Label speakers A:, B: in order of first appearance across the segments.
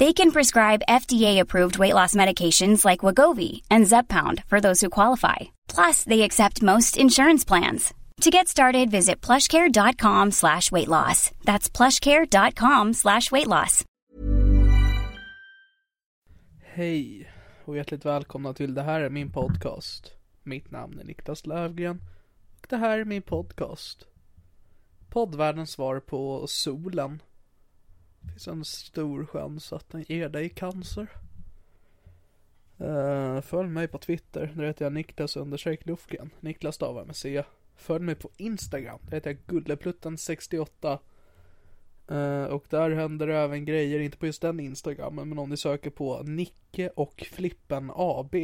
A: They can prescribe FDA-approved weight loss medications like Wagovi and Zepbound for those who qualify. Plus, they accept most insurance plans. To get started, visit plushcare.com slash weight loss. That's plushcare.com slash weight loss.
B: Hej och hjärtligt välkomna till det här är min podcast. Mitt namn är Niklas Lövgren och det här är min podcast. Poddvärldens svar på solen. Det finns en stor chans att den ger dig cancer. Eh, följ mig på Twitter, där heter jag Niklas understreck Lufgren. Niklas stavar med C. Följ mig på Instagram, där heter jag Gullepluttan68. Eh, och där händer det även grejer, inte på just den Instagrammen, men om ni söker på Nicke och Flippen AB.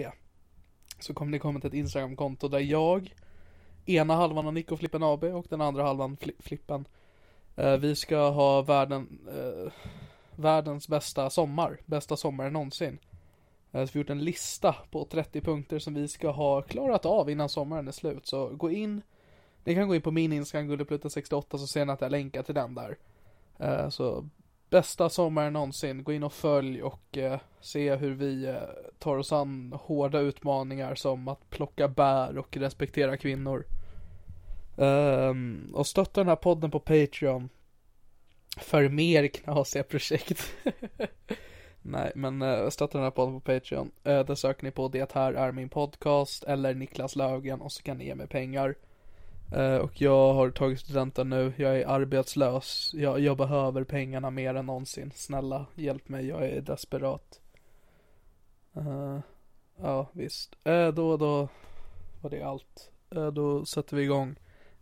B: Så kommer ni komma till ett Instagramkonto där jag, ena halvan av Nicke och Flippen AB och den andra halvan Fli- Flippen. Eh, vi ska ha världen, eh, världens bästa sommar, bästa sommar någonsin. Eh, Så vi har gjort en lista på 30 punkter som vi ska ha klarat av innan sommaren är slut. Så gå in, ni kan gå in på min Instagram gulleplutta68 så ser ni att jag länkar till den där. Eh, Så bästa sommaren någonsin, gå in och följ och eh, se hur vi eh, tar oss an hårda utmaningar som att plocka bär och respektera kvinnor. Ehm, och stötta den här podden på Patreon. För mer knasiga projekt. Nej, men eh, stötta den här podden på Patreon. Eh, Där söker ni på Det här är min podcast eller Niklas Lögen och så kan ni ge mig pengar. Eh, Och jag har tagit studenten nu, jag är arbetslös, jag, jag behöver pengarna mer än någonsin. Snälla, hjälp mig, jag är desperat. Eh, Ja, visst. Eh, Då, då var det allt. Eh, Då sätter vi igång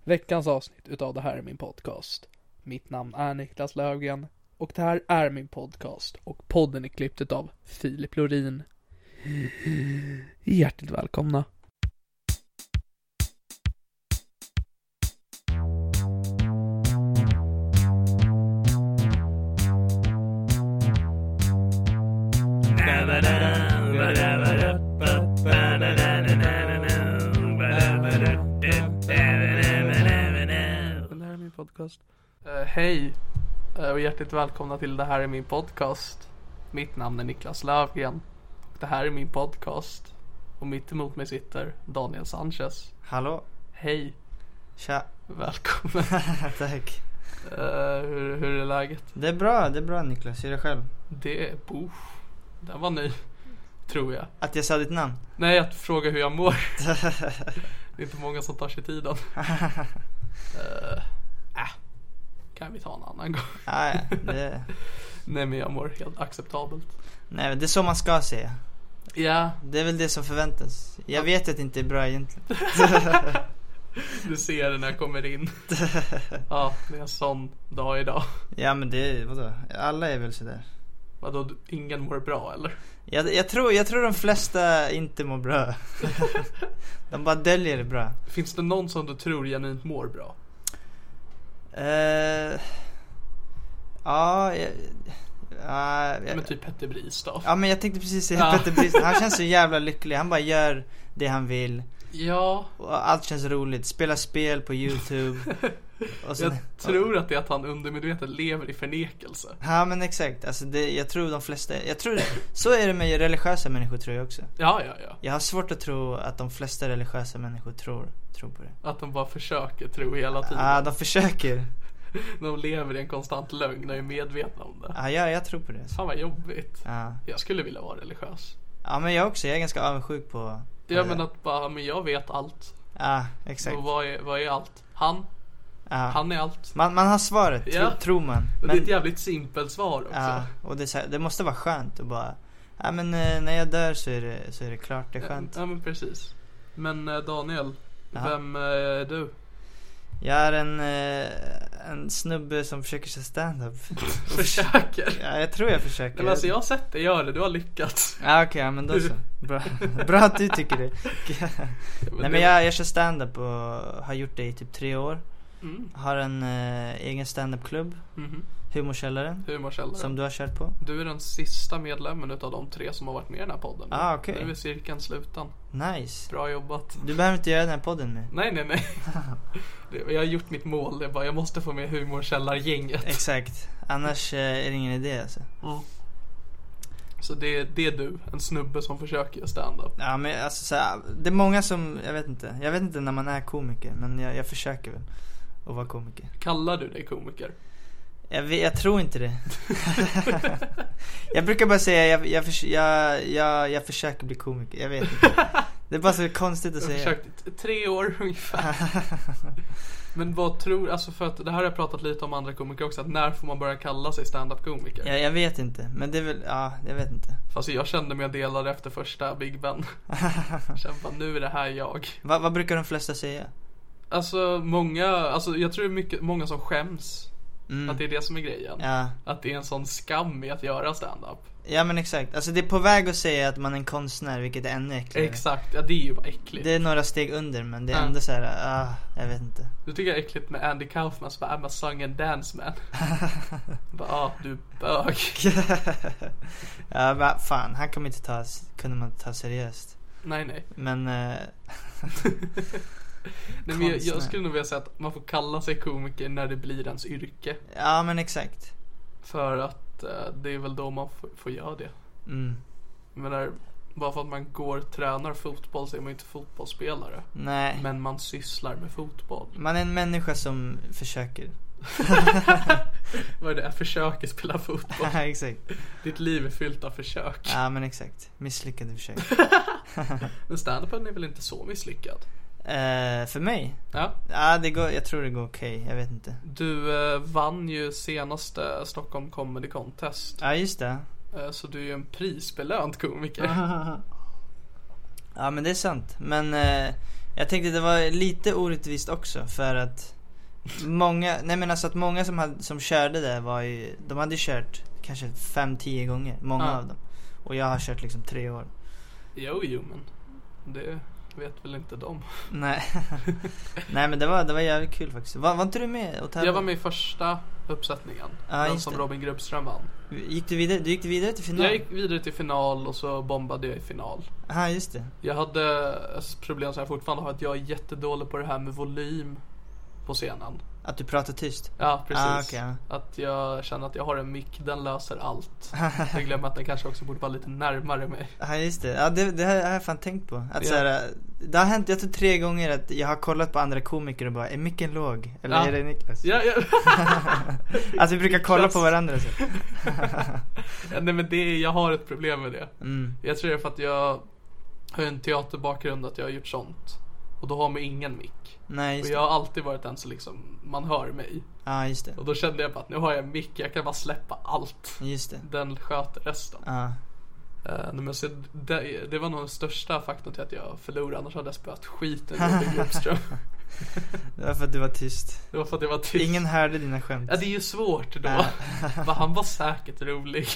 B: veckans avsnitt utav Det här är min podcast. Mitt namn är Niklas Löfgren och det här är min podcast och podden är klippt utav Filip Lorin. Hjärtligt välkomna. Det här är min podcast. Eh, hej eh, och hjärtligt välkomna till Det här är min podcast. Mitt namn är Niklas Löfgren. Och det här är min podcast. Och mitt emot mig sitter Daniel Sanchez.
C: Hallå,
B: Hej,
C: tja.
B: välkommen.
C: Tack.
B: Eh, hur, hur är läget?
C: Det är bra, det är bra Niklas. Hur är det själv?
B: Det är... Uff, den var ny. Tror jag.
C: Att jag sa ditt namn?
B: Nej, att fråga hur jag mår. Det är inte många som tar sig tiden. Eh, äh, kan vi ta en annan gång.
C: ah, ja, det,
B: Nej men jag mår helt acceptabelt.
C: nej, men det är så man ska säga.
B: Ja,
C: Det är väl det som förväntas. Jag vet att det inte är bra egentligen.
B: du ser det när jag kommer in. Ja, det är en sån dag idag.
C: Ja men det, vadå? Alla är väl sådär.
B: Vadå, du- ingen mår bra eller?
C: Jag, jag, tror, jag tror de flesta inte mår bra. de bara döljer det bra.
B: Finns det någon som du tror genuint mår bra?
C: Eh, ja, jag, ja, jag,
B: Men typ Petter Bristav.
C: Ja men jag tänkte precis säga
B: Ja.
C: Petter Brist. Han känns så jävla lycklig. Han bara gör det han vill.
B: Ja,
C: Och allt känns roligt. Spela spel på YouTube. Och sen,
B: jag tror att det är att han undermedvetet lever i förnekelse.
C: ja men exakt. Alltså det, jag tror de flesta, jag tror, så är det med religiösa människor tror jag också.
B: Ja, ja, ja.
C: Jag har svårt att tro att de flesta religiösa människor tror, tror på det.
B: Att de bara försöker tro hela tiden.
C: Ja, de försöker.
B: De lever i en konstant lögn och är medvetna om det.
C: Ja, jag, jag tror på det. alltså.
B: Fan vad jobbigt.
C: Ja.
B: Jag skulle vilja vara religiös.
C: ja, men jag också. Jag är ganska avundsjuk på... på
B: Ja
C: det.
B: men att bara, men jag vet allt.
C: Ja, exakt.
B: Och vad är, vad är allt? Han,
C: Ja.
B: han är allt.
C: Man, man har svaret, tro,
B: Ja.
C: tror man.
B: Och
C: Men-
B: det är ett jävligt simpelt svar också.
C: Ja, och det, är så här, det måste vara skönt att bara, ja men eh, när jag dör så är det, så är det klart, det är skönt.
B: Eh, Ja men precis. Men eh, Daniel,
C: Ja.
B: vem eh, är du?
C: Jag är en, eh, en snubbe som försöker köra standup.
B: Försöker.
C: Ja, jag tror jag
B: Nej,
C: försöker.
B: men alltså jag har sett dig göra det, du har lyckats.
C: Ja okej, ja, men då så. Bra. Bra att du tycker det. Nej men jag, jag kör standup och har gjort det i typ tre år.
B: Mm.
C: Har en eh, egen standupklubb,
B: Mhm.
C: Humorkällaren,
B: Humorkällare.
C: som du har kört på.
B: Du är den sista medlemmen utav de tre som har varit med i den här podden.
C: Ah, okej.
B: Nu är cirkeln sluten.
C: Nice.
B: Bra jobbat.
C: Du behöver inte göra den här podden med.
B: Nej, nej, nej. Det- Jag har gjort mitt mål. Det är bara, jag måste få med humorkällargänget.
C: Exakt. Annars eh, är det ingen idé alltså.
B: Mm. Så det, det är du, en snubbe som försöker göra stand-up.
C: Ja men alltså så här, det är många som, jag vet inte, jag vet inte när man är komiker men jag, jag försöker väl att vara komiker.
B: Kallar du dig komiker?
C: Jag, vet- jag tror inte det. jag brukar bara säga jag, jag, förs- jag, jag, jag försöker bli komiker, jag vet inte. Det är bara så konstigt att
B: Jag har
C: säga.
B: försökt i tre år ungefär. Men vad tror, alltså för att det här har jag pratat lite om andra komiker också, att när får man börja kalla sig stand-up komiker?
C: Jag, jag vet inte, men det är väl, ja jag vet inte.
B: Alltså jag kände mig delad efter första Big Ben. Kände bara, nu är det här jag.
C: Va, vad brukar de flesta säga?
B: Alltså många, alltså jag tror det är mycket, många som skäms.
C: Mm.
B: Att det är det som är grejen.
C: Ja.
B: Att det är en sån skam i att göra stand-up.
C: ja men exakt, alltså det är på väg att säga att man är en konstnär vilket är ännu äckligare.
B: Exakt, ja det är ju bara äckligt.
C: Det är några steg under men det är
B: Ja.
C: ändå så här, ah, jag vet inte.
B: Du tycker jag är äckligt med Andy Kaufman som bara I'm a song and dance man. bara, ah, du är bög.
C: ja, va, fan, han kommer inte ta, kunde man inte ta seriöst.
B: Nej nej.
C: Men, eh,
B: nej men jag, jag
C: Konstnär.
B: skulle nog vilja säga att man får kalla sig komiker när det blir ens yrke.
C: ja men exakt.
B: För att eh, det är väl då man får, får göra det.
C: Mm.
B: Jag menar, bara för att man går och tränar fotboll så är man ju inte fotbollsspelare.
C: Nej.
B: Men man sysslar med fotboll.
C: Man är en människa som försöker.
B: Vad är det? Jag försöker spela fotboll.
C: Ja, exakt.
B: Ditt liv är fyllt av försök.
C: Ja men exakt. Misslyckade försök.
B: Men standupen är väl inte så misslyckad?
C: Eh, för mig?
B: Ja.
C: Ja, det går, jag tror det går okej. Jag vet inte.
B: Du eh, vann ju senaste Stockholm Comedy Contest.
C: Ja, just det.
B: Eh, så du är ju en prisbelönt komiker.
C: Ja, men det är sant. Men eh, jag tänkte det var lite orättvist också för att många, nej men alltså att många som, hade, som körde det var ju, de hade ju kört kanske 5-10 gånger, många
B: Ja.
C: av dem. Och jag har kört liksom tre år.
B: Jo, jo, men det vet väl inte de.
C: Nej, nej men det var, det var jävligt kul faktiskt. Var, var inte du med och tävlade?
B: Jag var med i första uppsättningen.
C: Ja,
B: den
C: just
B: som
C: det.
B: Robin Grubbström vann.
C: Gick du vidare, du gick vidare till final?
B: Jag gick vidare till final och så bombade jag i final.
C: Ja, just det.
B: Jag hade ett problem som jag fortfarande har, att jag är jättedålig på det här med volym på scenen.
C: Att du pratar tyst.
B: Ja, precis.
C: Ah, okej, ja.
B: Att jag känner att jag har en mick, den löser allt. Jag glömmer att den kanske också borde vara lite närmare mig.
C: Ja just det, ja, det, det här har jag fan tänkt på. Att
B: Ja.
C: så här, det har hänt, jag tror tre gånger att jag har kollat på andra komiker och bara är micken låg? Eller
B: Ja.
C: är det Niklas?
B: Ja, ja.
C: Alltså vi brukar kolla
B: Niklas.
C: på varandra så.
B: Ja, Nej men det, jag har ett problem med det.
C: Mm.
B: Jag tror det är för att jag har en teaterbakgrund, att jag har gjort sånt. Och då har man ingen mick.
C: Nej
B: Och
C: just
B: jag
C: det.
B: har alltid varit den som liksom, man hör mig.
C: Ja just det.
B: Och då kände jag bara att nu har jag en mick, jag kan bara släppa allt.
C: Just det.
B: Den sköter resten.
C: Ja.
B: Eh, nej, men så det, det var nog den största faktorn till att jag förlorade, annars hade jag spöat skiten ur Robin Grubbström.
C: Det var för att du var tyst.
B: Det var för att jag var tyst.
C: Ingen hörde dina skämt.
B: Ja det är ju svårt då.
C: Ja.
B: För han var säkert rolig.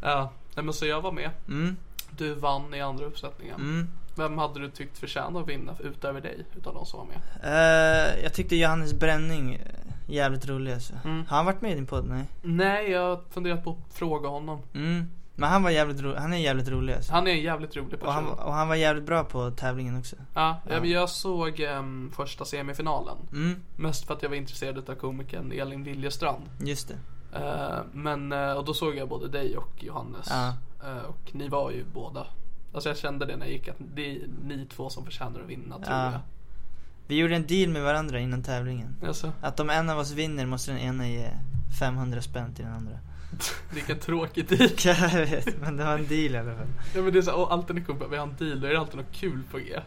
B: Ja, nej men så jag var med.
C: Mm.
B: Du vann i andra uppsättningen.
C: Mm.
B: Vem hade du tyckt förtjänar att vinna utöver dig? Utav de som var med?
C: Eh, jag tyckte Johannes Bränning eh, jävligt rolig alltså.
B: Mm.
C: Har han varit med i din podd? Nej?
B: Nej, jag har funderat på att fråga honom.
C: Mm. Men han var jävligt rolig, han är jävligt rolig alltså.
B: Han är en jävligt rolig person.
C: och, han, och han var jävligt bra på tävlingen också.
B: Ja,
C: Ja.
B: men Jag såg em, första semifinalen.
C: Mm,
B: Mest för att jag var intresserad av komikern Elin Liljestrand.
C: just det.
B: Eh, men, eh, och då såg jag både dig och Johannes.
C: Ja.
B: Eh, och ni var ju båda. Alltså jag kände det när jag gick att det är ni två som förtjänar att vinna tror
C: Ja. Vi gjorde en deal med varandra innan tävlingen.
B: jag. Alltså,
C: Att om en av oss vinner måste den ena ge 500 spänn till den andra.
B: vilken tråkig deal.
C: Jag vet, men det var en deal i alla fall.
B: Ja, men det är så, här, och alltid när jag kommer på att vi har en deal, då är det alltid något kul på G.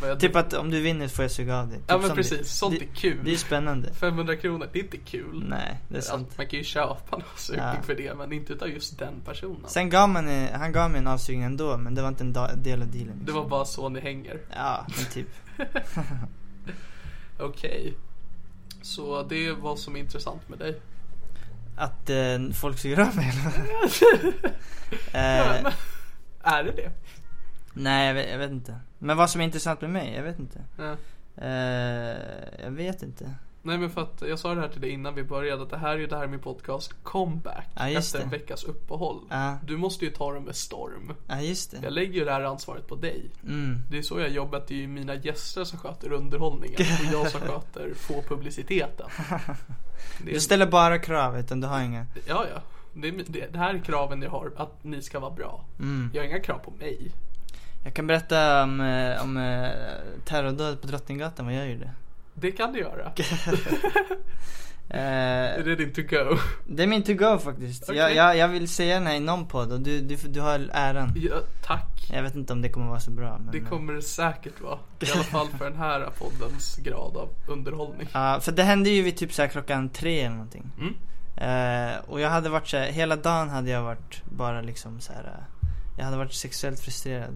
B: Vad jag-
C: Typ att om du vinner får jag suga av dig. Typ
B: ja men
C: som
B: precis, sånt
C: det,
B: är kul.
C: det är spännande.
B: 500 kronor, det är inte kul.
C: Nej, det är sant.
B: Alltså, man kan ju köpa en avsugning
C: Ja.
B: för det, men inte utav just den personen.
C: Sen gav man, eh, han gav mig en avsugning ändå, men det var inte en da- del av dealen. liksom.
B: Det var bara så ni hänger.
C: Ja, men typ.
B: Okej. Så det är vad som är intressant med dig.
C: Att eh, folk suger av mig
B: Ja,
C: eh,
B: men- Är det det?
C: Nej, jag vet, jag vet inte. Men vad som är intressant med mig? Jag vet inte.
B: Ja.
C: Eh, jag vet inte.
B: Nej men för att jag sa det här till dig innan vi började att det här är ju det här med podcast comeback
C: Ja, just
B: efter en
C: det.
B: veckas uppehåll.
C: Ja, Mm.
B: Du måste ju ta det med storm.
C: ja just det.
B: Jag lägger ju det här ansvaret på dig.
C: Mm.
B: Det är så jag jobbar, att det är ju mina gäster som sköter underhållningen och jag som sköter få publiciteten. Det
C: Du
B: är,
C: ställer bara krav, utan du har inga.
B: ja, ja. Det, är, det, det här är kraven jag har, att ni ska vara bra.
C: Mm.
B: Jag har inga krav på mig.
C: Jag kan berätta om, eh, om eh, terrordådet på Drottninggatan, vad jag gjorde.
B: Det kan du göra.
C: Eh,
B: Ready to go.
C: det är min to go faktiskt.
B: Okej.
C: Jag, jag, jag vill säga den här i någon podd och du, du, du har äran.
B: Ja, tack.
C: Jag vet inte om det kommer vara så bra. Men, eh.
B: Det kommer det säkert vara. I alla fall för den här poddens grad av underhållning.
C: Ja, för det hände ju vid typ så här klockan tre eller någonting.
B: Mm.
C: Eh, och jag hade varit så här, hela dagen hade jag varit bara liksom så här. eh, Jag hade varit sexuellt frustrerad.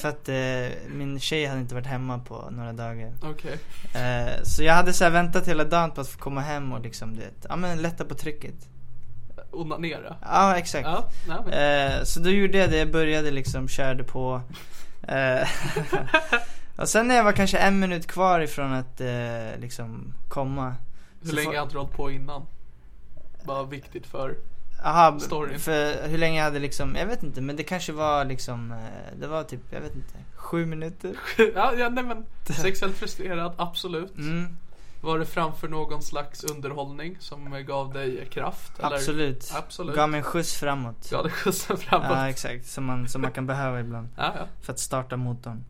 C: för att eh, min tjej hade inte varit hemma på några dagar.
B: Okej.
C: Eh, så jag hade så här väntat hela dagen på att få komma hem och liksom det, ja men lätta på trycket.
B: Onanera.
C: Ja, exakt.
B: Ja, nej, men.
C: Eh, så då gjorde jag det, jag började liksom, körde på. Eh, och sen när jag var kanske en minut kvar ifrån att eh, liksom komma.
B: Hur
C: så
B: länge
C: får-
B: hade du hållit på innan? Bara viktigt för...
C: Aha, b-
B: Storyn.
C: för hur länge jag hade liksom, jag vet inte men det kanske var liksom, eh, det var typ, jag vet inte, sju minuter.
B: Ja, ja nej men. Sexuellt frustrerad, absolut.
C: Mm,
B: Var det framför någon slags underhållning som gav dig kraft? Eller?
C: absolut.
B: Absolut.
C: Gav mig en skjuts framåt.
B: Gav dig skjutsen framåt?
C: Ja exakt, som man, som man kan behöva ibland.
B: ja, ja.
C: För att starta motorn.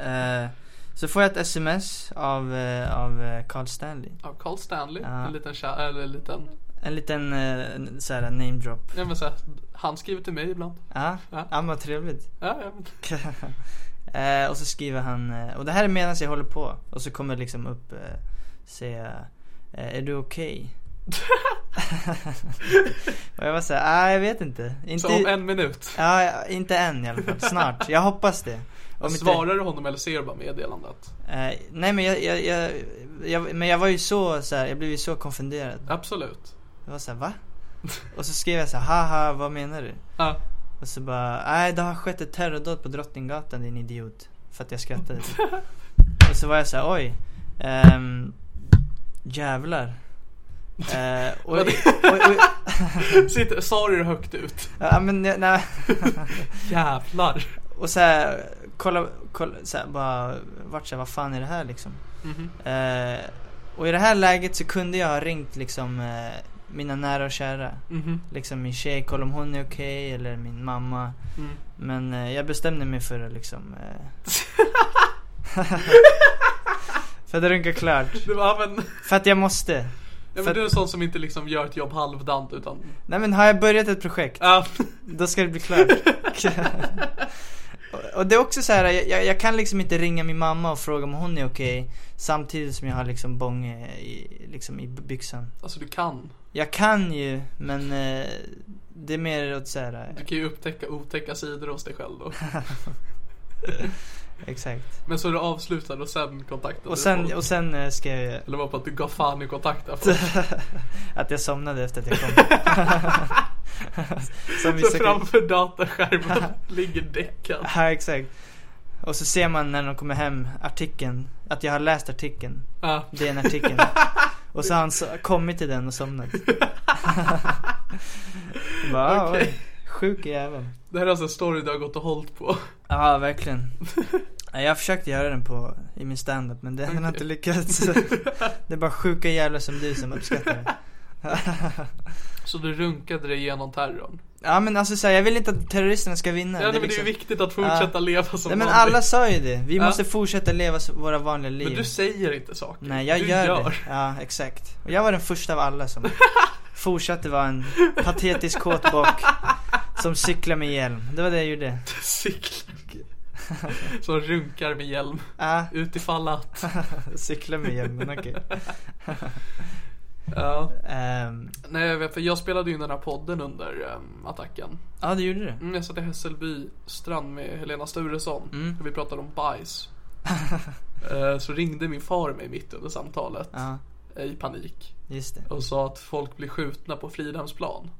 C: Eh, så får jag ett sms av, eh, av eh, Carl Stanley.
B: Av Carl Stanley,
C: Ja.
B: en liten kär, eller en liten,
C: En liten eh, en så här name drop.
B: ja men såhär, han skriver till mig ibland.
C: Ja,
B: Ja.
C: ja vad trevligt.
B: Ja, ja. men-
C: Eh, och så skriver han, eh, och det här är medan jag håller på. Och så kommer det liksom upp, eh, säga, eh, är du okej? och jag var såhär, nej jag vet inte. Inte,
B: Så om en minut.
C: ja, inte än i alla fall, snart. Jag hoppas det. Om inte-
B: Svarar du honom eller ser du bara meddelandet?
C: Eh, nej men jag, jag, jag, jag, men jag var ju så, så här, jag blev ju så konfunderad.
B: Absolut.
C: Jag var såhär va? Och så skrev jag så här, haha vad menar du?
B: Ja.
C: Och så bara, nej det har skett ett terrordåd på Drottninggatan din idiot. För att jag skrattade. typ. och så var jag så här, oj. ehm, jävlar. Eh, och, och, och,
B: Sitter, sa du det högt ut?
C: ja, men, jag- nej,
B: Jävlar.
C: och så här, kolla, kolla så här, bara, vart så här, vad fan är det här liksom?
B: Mhm,
C: Eh, och i det här läget så kunde jag ha ringt liksom eh, mina nära och kära.
B: Mhm.
C: Liksom min tjej, kolla om hon är okej eller min mamma.
B: Mm.
C: Men eh, jag bestämde mig för att liksom... Eh, för att runka klart.
B: Du bara, ja, men,
C: För att jag måste.
B: ja,
C: För-
B: men du är en sån som inte liksom gör ett jobb halvdant utan...
C: Nej men har jag börjat ett projekt,
B: Ja.
C: då ska det bli klart. Och- och det är också så här, jag, jag- jag kan liksom inte ringa min mamma och fråga om hon är okej. samtidigt som jag har liksom bånge i, liksom i byxan.
B: Alltså du kan.
C: Jag kan ju, men eh, det är mer åt eh, såhär...
B: Du kan ju upptäcka otäcka sidor hos dig själv då.
C: Exakt.
B: Men så du avslutade och sen kontaktade
C: Och
B: du
C: sen,
B: folk.
C: och sen eh, skrev jag
B: Eller var det på att du gav fan i kontakta folk?
C: att jag somnade efter att jag kom. Som
B: Så
C: vissa kan...
B: framför dataskärmen ligger däckad.
C: Ja, exakt. Och så ser man när de kommer hem artikeln, att jag har läst artikeln.
B: Ja.
C: Det är en artikel. Och så har han so- kommit till den och somnat. Bara, "Ah,
B: Okej.
C: oj, Sjuk jävel.
B: Det här är alltså en story du har gått och hållit på.
C: Ja, verkligen. Nej, Jag försökte göra den på, i min standup men den har inte lyckats. Det är bara sjuka jävlar som du som uppskattar det.
B: Så du runkade dig igenom terrorn?
C: Ja men alltså så här, jag vill inte att terroristerna ska vinna.
B: Ja, nej, men det är ju
C: liksom-
B: viktigt att fortsätta
C: Ja.
B: leva som
C: Nej men
B: vanligt.
C: alla sa ju det. Vi
B: Ja.
C: måste fortsätta leva s- våra vanliga liv.
B: Men du säger inte saker.
C: Nej jag
B: du
C: gör, det. Ja exakt. Och jag var den första av alla som fortsatte vara en patetisk kåtbock som cyklar med hjälm. Det var det jag gjorde.
B: Cyklar. Som runkar med hjälm.
C: Ja,
B: Ut ifall att.
C: cyklar med hjälmen, okej.
B: Ja.
C: Ehm,
B: Nej, jag vet, för jag spelade ju in den här podden under ehm, attacken.
C: ja det gjorde du.
B: Mm, jag satt i Hässelby strand med Helena Sturesson.
C: Mm.
B: Och vi pratade om bajs. Eh, Så ringde min far mig mitt under samtalet
C: Ja,
B: eh, i panik
C: just det.
B: och sa att folk blir skjutna på Fridhemsplan.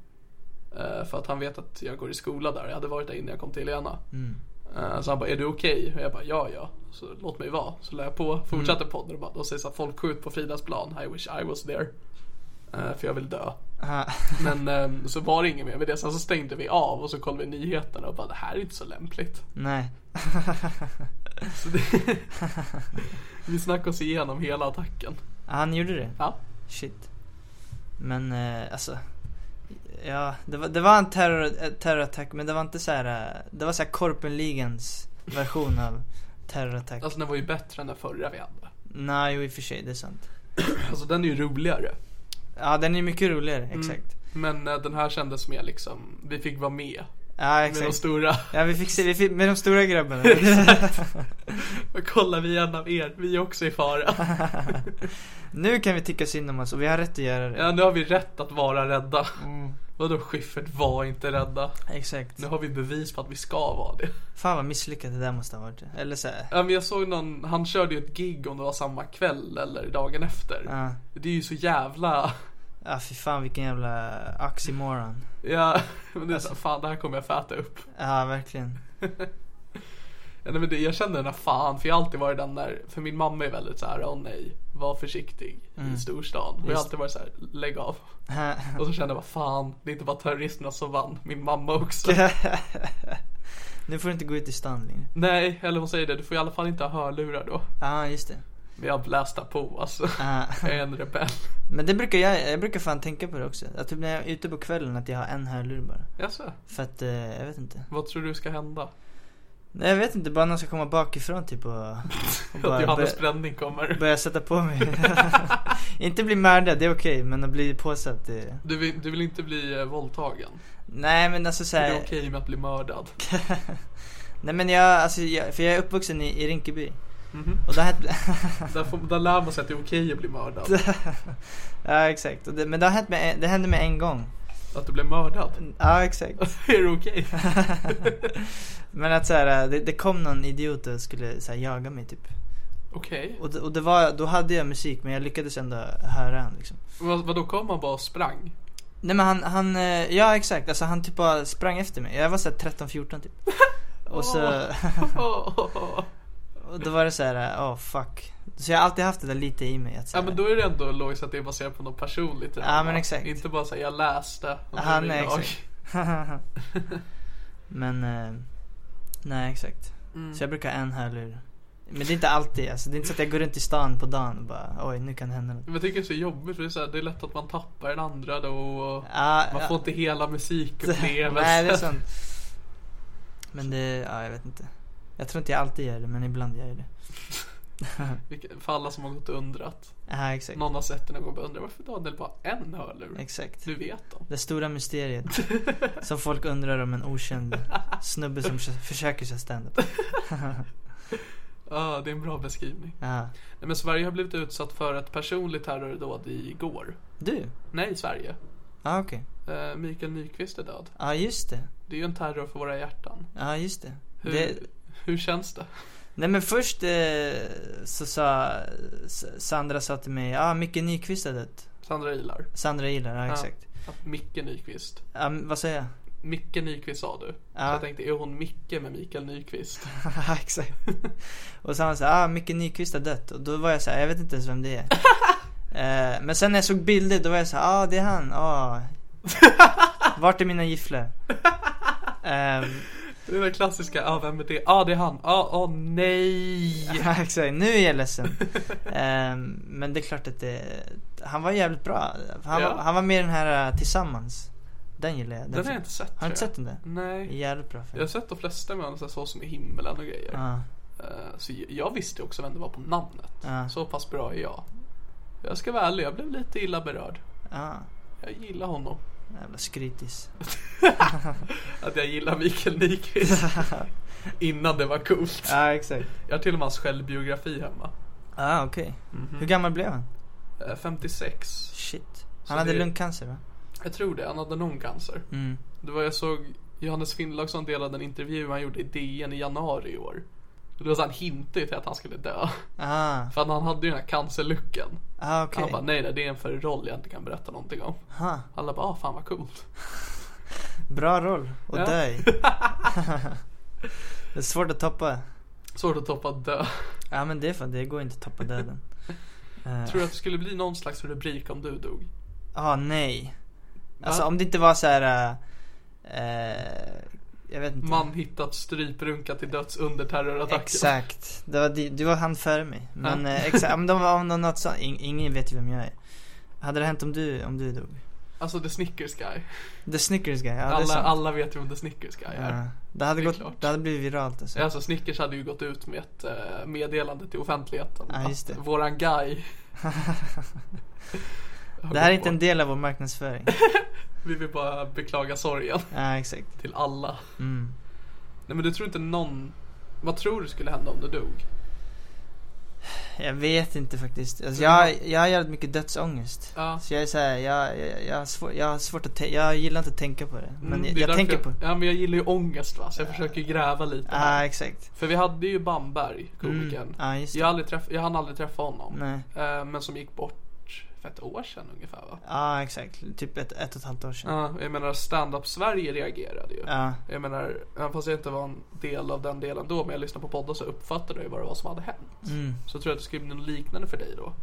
B: Eh, För att han vet att jag går i skola där. Jag hade varit där innan jag kom till Helena.
C: Mm.
B: Eh, Så han bara, är du okej? Och jag bara, ja ja. Så låt mig vara. Så la jag på, fortsatte podden och bara, de säger så att folk skjut på Fridhemsplan. I wish I was there. Eh, För jag vill dö.
C: Ja,
B: Men eh, så var det inget mer med det. Sen så stängde vi av och så kollade vi nyheterna och bara, det här är inte så lämpligt.
C: nej.
B: Så det... vi snackade oss igenom hela attacken.
C: Ja, han gjorde det.
B: Ja.
C: Shit. Men eh, alltså. Ja, det var, det var en terror, eh, terrorattack men det var inte så här. eh, Det var så här Korpenligans version av terrorattack.
B: Alltså den var ju bättre än den förra vi hade.
C: Nej, jo i och för sig, det är sant.
B: Alltså den är ju roligare.
C: Ja, den är mycket roligare,
B: Mm.
C: exakt.
B: Men eh, den här kändes mer liksom, vi fick vara med.
C: Ja,
B: Med de
C: exakt.
B: stora.
C: Ja, vi fick se, vi fick, med de stora grabbarna.
B: Och kolla vi är en av er, vi är också i fara.
C: nu kan vi tycka synd om oss och vi har rätt att göra det.
B: Ja nu har vi rätt att vara rädda.
C: Mm,
B: Vadå Schyffert var inte rädda?
C: exakt.
B: Nu har vi bevis på att vi ska vara det.
C: Fan vad misslyckat det där måste ha varit. Eller så här.
B: Ja men jag såg någon, han körde ju ett gig om det var samma kväll eller dagen efter.
C: Ja,
B: Det är ju så jävla,
C: ja fy fan vilken jävla oxymoron.
B: ja men det är så, fan det här kommer jag få äta upp.
C: Ja, verkligen.
B: Ja, nej, men det, jag känner den här fan, för jag har alltid varit den där, för min mamma är väldigt så här, åh nej, var försiktig i storstan. Och jag har
C: Mm. Just.
B: alltid varit så här, lägg av. Och så kände jag, vad fan, det är inte bara terroristerna som vann, min mamma också.
C: nu får du inte gå ut i stan längre.
B: nej, eller hon säger det, du får i alla fall inte ha hörlurar då.
C: Ja, just det.
B: Men jag blästar på alltså.
C: Ja.
B: Jag är en rebell.
C: Men det brukar jag, jag brukar fan tänka på det också. Att typ när jag är ute på kvällen att jag har en hörlur bara.
B: Jaså,
C: För att, eh, jag vet inte.
B: vad tror du ska hända?
C: Nej jag vet inte, bara någon ska komma bakifrån typ och, och
B: Att
C: bara
B: Johannes
C: börja,
B: Bränning kommer.
C: börja sätta på mig. inte bli mördad, det är okej, men att bli påsatt det...
B: Du vill, du vill inte bli eh, våldtagen?
C: Nej men alltså
B: Är det
C: såhär.
B: okej med att bli mördad?
C: Nej men jag, alltså jag, för jag är uppvuxen i, i Rinkeby.
B: Mhm.
C: Och det har hänt,
B: Där, får, där lär man sig att det är okej att bli mördad.
C: ja exakt. Och det, men det har hänt med, en- det hände med en gång.
B: Att du blir mördad.
C: Ja exakt.
B: Är det okej?
C: Men att såhär, det, det kom någon idiot och skulle såhär, jaga mig typ.
B: Okej.
C: Och, det, och det var, då hade jag musik men jag lyckades ändå höra han liksom.
B: Vad, vadå kom han bara och sprang?
C: Nej men han, han, eh, ja exakt, alltså han typ bara sprang efter mig. Jag var såhär 13-14 typ. Och så, och då var det såhär, åh oh, fuck. Så jag har alltid haft det där lite i mig. Att, så
B: Ja
C: här,
B: men då är det ändå logiskt att det är baserat på något personligt.
C: Ja,
B: drama.
C: men exakt.
B: Inte bara säga jag läste. och
C: Ja,
B: nu är
C: nej,
B: jag.
C: exakt. men, eh, nej exakt.
B: Mm.
C: Så jag brukar ha en hörlur. Men det är inte alltid, alltså, det är inte så att jag går runt i stan på dagen och bara, oj nu kan det hända något.
B: Men jag tycker det är så jobbigt för det är, så här, det är lätt att man tappar den andra då och
C: Ja,
B: man
C: Ah, ja.
B: får inte hela musikupplevelsen.
C: Nej, det är sant. Men det, ja jag vet inte. Jag tror inte jag alltid gör det, men ibland gör jag det.
B: Vilket- För alla som har gått och undrat.
C: Ja, exakt.
B: Någon har sett den och gått och undrat varför Daniel bara en hörlur?
C: Exakt.
B: Nu vet de.
C: Det stora mysteriet som folk undrar om en okänd snubbe som kö- försöker köra standup.
B: Ja, det är en bra beskrivning.
C: Ja.
B: Nej, men Sverige har blivit utsatt för ett personligt terrordåd igår.
C: Du?
B: Nej, Sverige.
C: Ja, okej.
B: Eh, Mikael Nyqvist är död.
C: Ja, just det.
B: Det är ju en terror för våra hjärtan.
C: Ja, just det.
B: Hur,
C: det
B: hur känns det?
C: nej men först eh, så sa S- Sandra sa till mig, ja ah, Micke Nyqvist har dött.
B: Sandra Ilar.
C: Sandra gillar ja,
B: Ja.
C: exakt.
B: Att Micke Nyqvist.
C: Ja, men vad säger jag?
B: Micke Nyqvist sa du. Så
C: Ja.
B: jag tänkte, är hon Micke med Mikael Nyqvist?
C: Ja, exakt. Och så han sa, ah Micke Nyqvist har dött. Och då var jag så här, jag vet inte ens vem det är. Eh, men sen när jag såg bilder, då var jag så här, ah det är han, ah. Vart är mina gifflor? Ehm,
B: Det är den klassiska, ja vem är det? Ja ah, det är han, ja ah, åh nej!
C: ja, exakt, nu är jag ledsen. Ehm, men det är klart att det, han var jävligt bra. Han,
B: Ja.
C: var, han var med i den här eh, Tillsammans. Den gillar jag.
B: Den har jag inte sett
C: Har du inte
B: tror
C: sett den där?
B: jag. Nej.
C: Jävligt bra
B: Jag har
C: film.
B: sett de flesta med honom, så här, så som i himmelen och grejer.
C: Ja.
B: Eh, Så jag- jag visste också vem det var på namnet.
C: Ja.
B: Så pass bra är jag. Jag ska vara ärlig, jag blev lite illa berörd.
C: ja.
B: Jag gillar honom.
C: Jävla skrytis.
B: Att jag gillar Mikael Nyqvist. Innan det var coolt.
C: Ja, exakt.
B: Jag har till och med hans självbiografi hemma.
C: ah, okej.
B: Mhm.
C: Hur gammal blev han?
B: Eh, 56.
C: Shit. Han
B: Så
C: hade
B: det-
C: lungcancer va?
B: Jag tror det, han hade någon cancer.
C: Mm.
B: Det var jag såg Johannes Finnlaugsson delade en intervju han gjorde i DN i januari i år. Det var så han hintade till att han skulle dö.
C: Ah,
B: För att han hade ju den här cancerlucken.
C: ah okej.
B: Han bara nej, nej det är en för roll jag inte kan berätta någonting om.
C: Ha,
B: Alla bara ah fan vad coolt.
C: Bra roll och
B: Ja.
C: dö i. Det är svårt att toppa.
B: Svårt att toppa dö.
C: Ja men det är fan, det går inte att toppa döden. Eh,
B: Tror du att det skulle bli någon slags rubrik om du dog?
C: ah nej. Alltså
B: Va?
C: om det inte var så här. eh, eh, jag vet inte.
B: Man hittat stryprunka till döds under terrorattacken.
C: Exakt. Det var, det, det var han före mig. Men
B: Ja.
C: eh, exakt, ja, men de var om de något sånt. In, ingen vet ju vem jag är. Hade det hänt om du, om du dog?
B: Alltså the Snickers guy.
C: The Snickers guy, ja det är
B: alla,
C: sant.
B: alla vet ju om the Snickers guy är.
C: Ja, det, hade
B: Det är
C: gått,
B: klart.
C: det hade blivit viralt alltså.
B: Alltså Snickers hade ju gått ut med ett eh, meddelande till offentligheten.
C: Ja, just det.
B: Att Våran guy.
C: Det här är inte en del av vår marknadsföring.
B: Vi vill bara beklaga sorgen
C: Ja, exakt.
B: till alla.
C: Mm.
B: Nej men du tror inte någon... Vad tror du skulle hända om du dog?
C: Jag vet inte faktiskt. Alltså, jag, jag har jävligt mycket dödsångest.
B: Ja.
C: Så jag är såhär, jag, jag, jag, har svår, jag har svårt att tänka, jag gillar inte att tänka på det. Men
B: Mm,
C: jag,
B: det är
C: jag
B: därför
C: tänker
B: jag,
C: på Eh, det.
B: Ja men jag gillar ju ångest va, så jag försöker gräva lite.
C: Ja,
B: här.
C: exakt.
B: För vi hade ju Bamberg,
C: Mm.
B: komikern.
C: Ja, just det.
B: Jag,
C: Ja,
B: har aldrig träff- jag hann aldrig träffa honom.
C: Nej.
B: Eh, men som gick bort för ett år sedan ungefär va?
C: exakt. Typ ett, ett och ett halvt år sedan.
B: Ja, jag menar stand-up Sverige reagerade ju.
C: Ja.
B: Jag menar, även fast jag inte var en del av den delen då, men jag lyssnade på podden så uppfattade jag ju vad det var som hade hänt.
C: Mm.
B: Så tror jag att det skulle bli något liknande för dig då.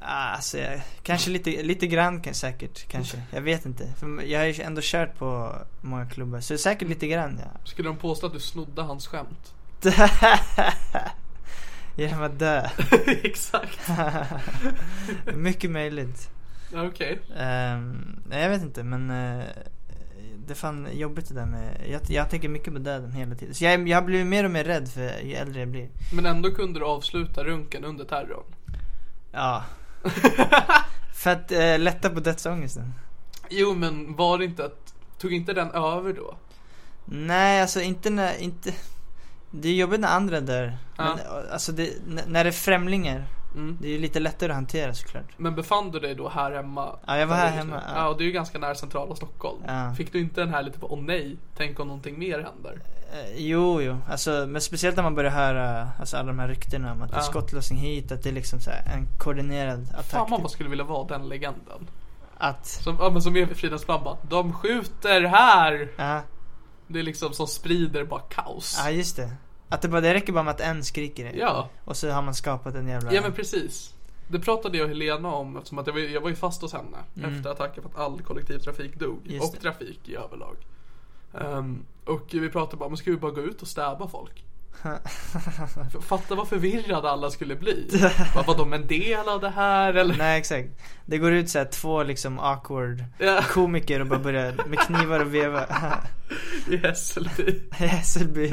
C: Ja, Alltså, jag, kanske lite, lite grann kan, säkert, kanske. Jag vet inte. För jag har ju ändå kört på många klubbar, så säkert lite grann ja.
B: Skulle de påstå att du snodde hans skämt?
C: Genom att dö.
B: Exakt.
C: Mycket möjligt.
B: Ja, Okej.
C: Ehm, nej, jag vet inte men eh, det är fan jobbigt det där med, jag, jag tänker mycket på döden hela tiden. Så jag, jag blir mer och mer rädd för ju äldre jag blir.
B: Men ändå kunde du avsluta runken under terrorn.
C: Ja. för att eh, lätta på dödsångesten.
B: Jo, men var det inte att... Tog inte den över då?
C: Nej, alltså inte när, inte, det är jobbigt när andra dör. Men, eh, alltså det, n- när det är främlingar,
B: Mm.
C: det är ju lite lättare att hantera såklart.
B: Men befann du dig då här hemma?
C: Ja, jag var här
B: Där du-
C: hemma, ja.
B: Ja, och det är ju ganska nära centrala Stockholm.
C: Ja.
B: Fick du inte den här lite på, åh nej, tänk om någonting mer händer?
C: Eh, Jo, jo. Alltså, men speciellt när man börjar höra alltså, alla de här ryktena om att det är
B: Ja.
C: skottlossning hit, att det är liksom så här en koordinerad attack.
B: Fan vad man skulle vilja vara den legenden.
C: Att,
B: Som, ja, men som är vid Fridhems plan bara, de skjuter här!
C: ja,
B: Det är liksom som sprider bara kaos.
C: ja just det. Att det, bara, det räcker bara med att en skriker det.
B: Ja,
C: Och så har man skapat en jävla...
B: ja men precis. Det pratade jag och Helena om eftersom att jag var, jag var ju fast hos henne efter attacken för att all kollektivtrafik dog.
C: Mm. Just
B: och
C: det.
B: trafik i överlag. Ehm, och vi pratade bara, men ska vi bara gå ut och stäba folk? F- Fatta vad förvirrade alla skulle bli. Bara, Var de en del av det här eller?
C: Nej exakt. Det går ut så här två liksom awkward
B: Ja,
C: komiker och bara börjar med knivar och veva.
B: I Hässelby.
C: I Hässelby.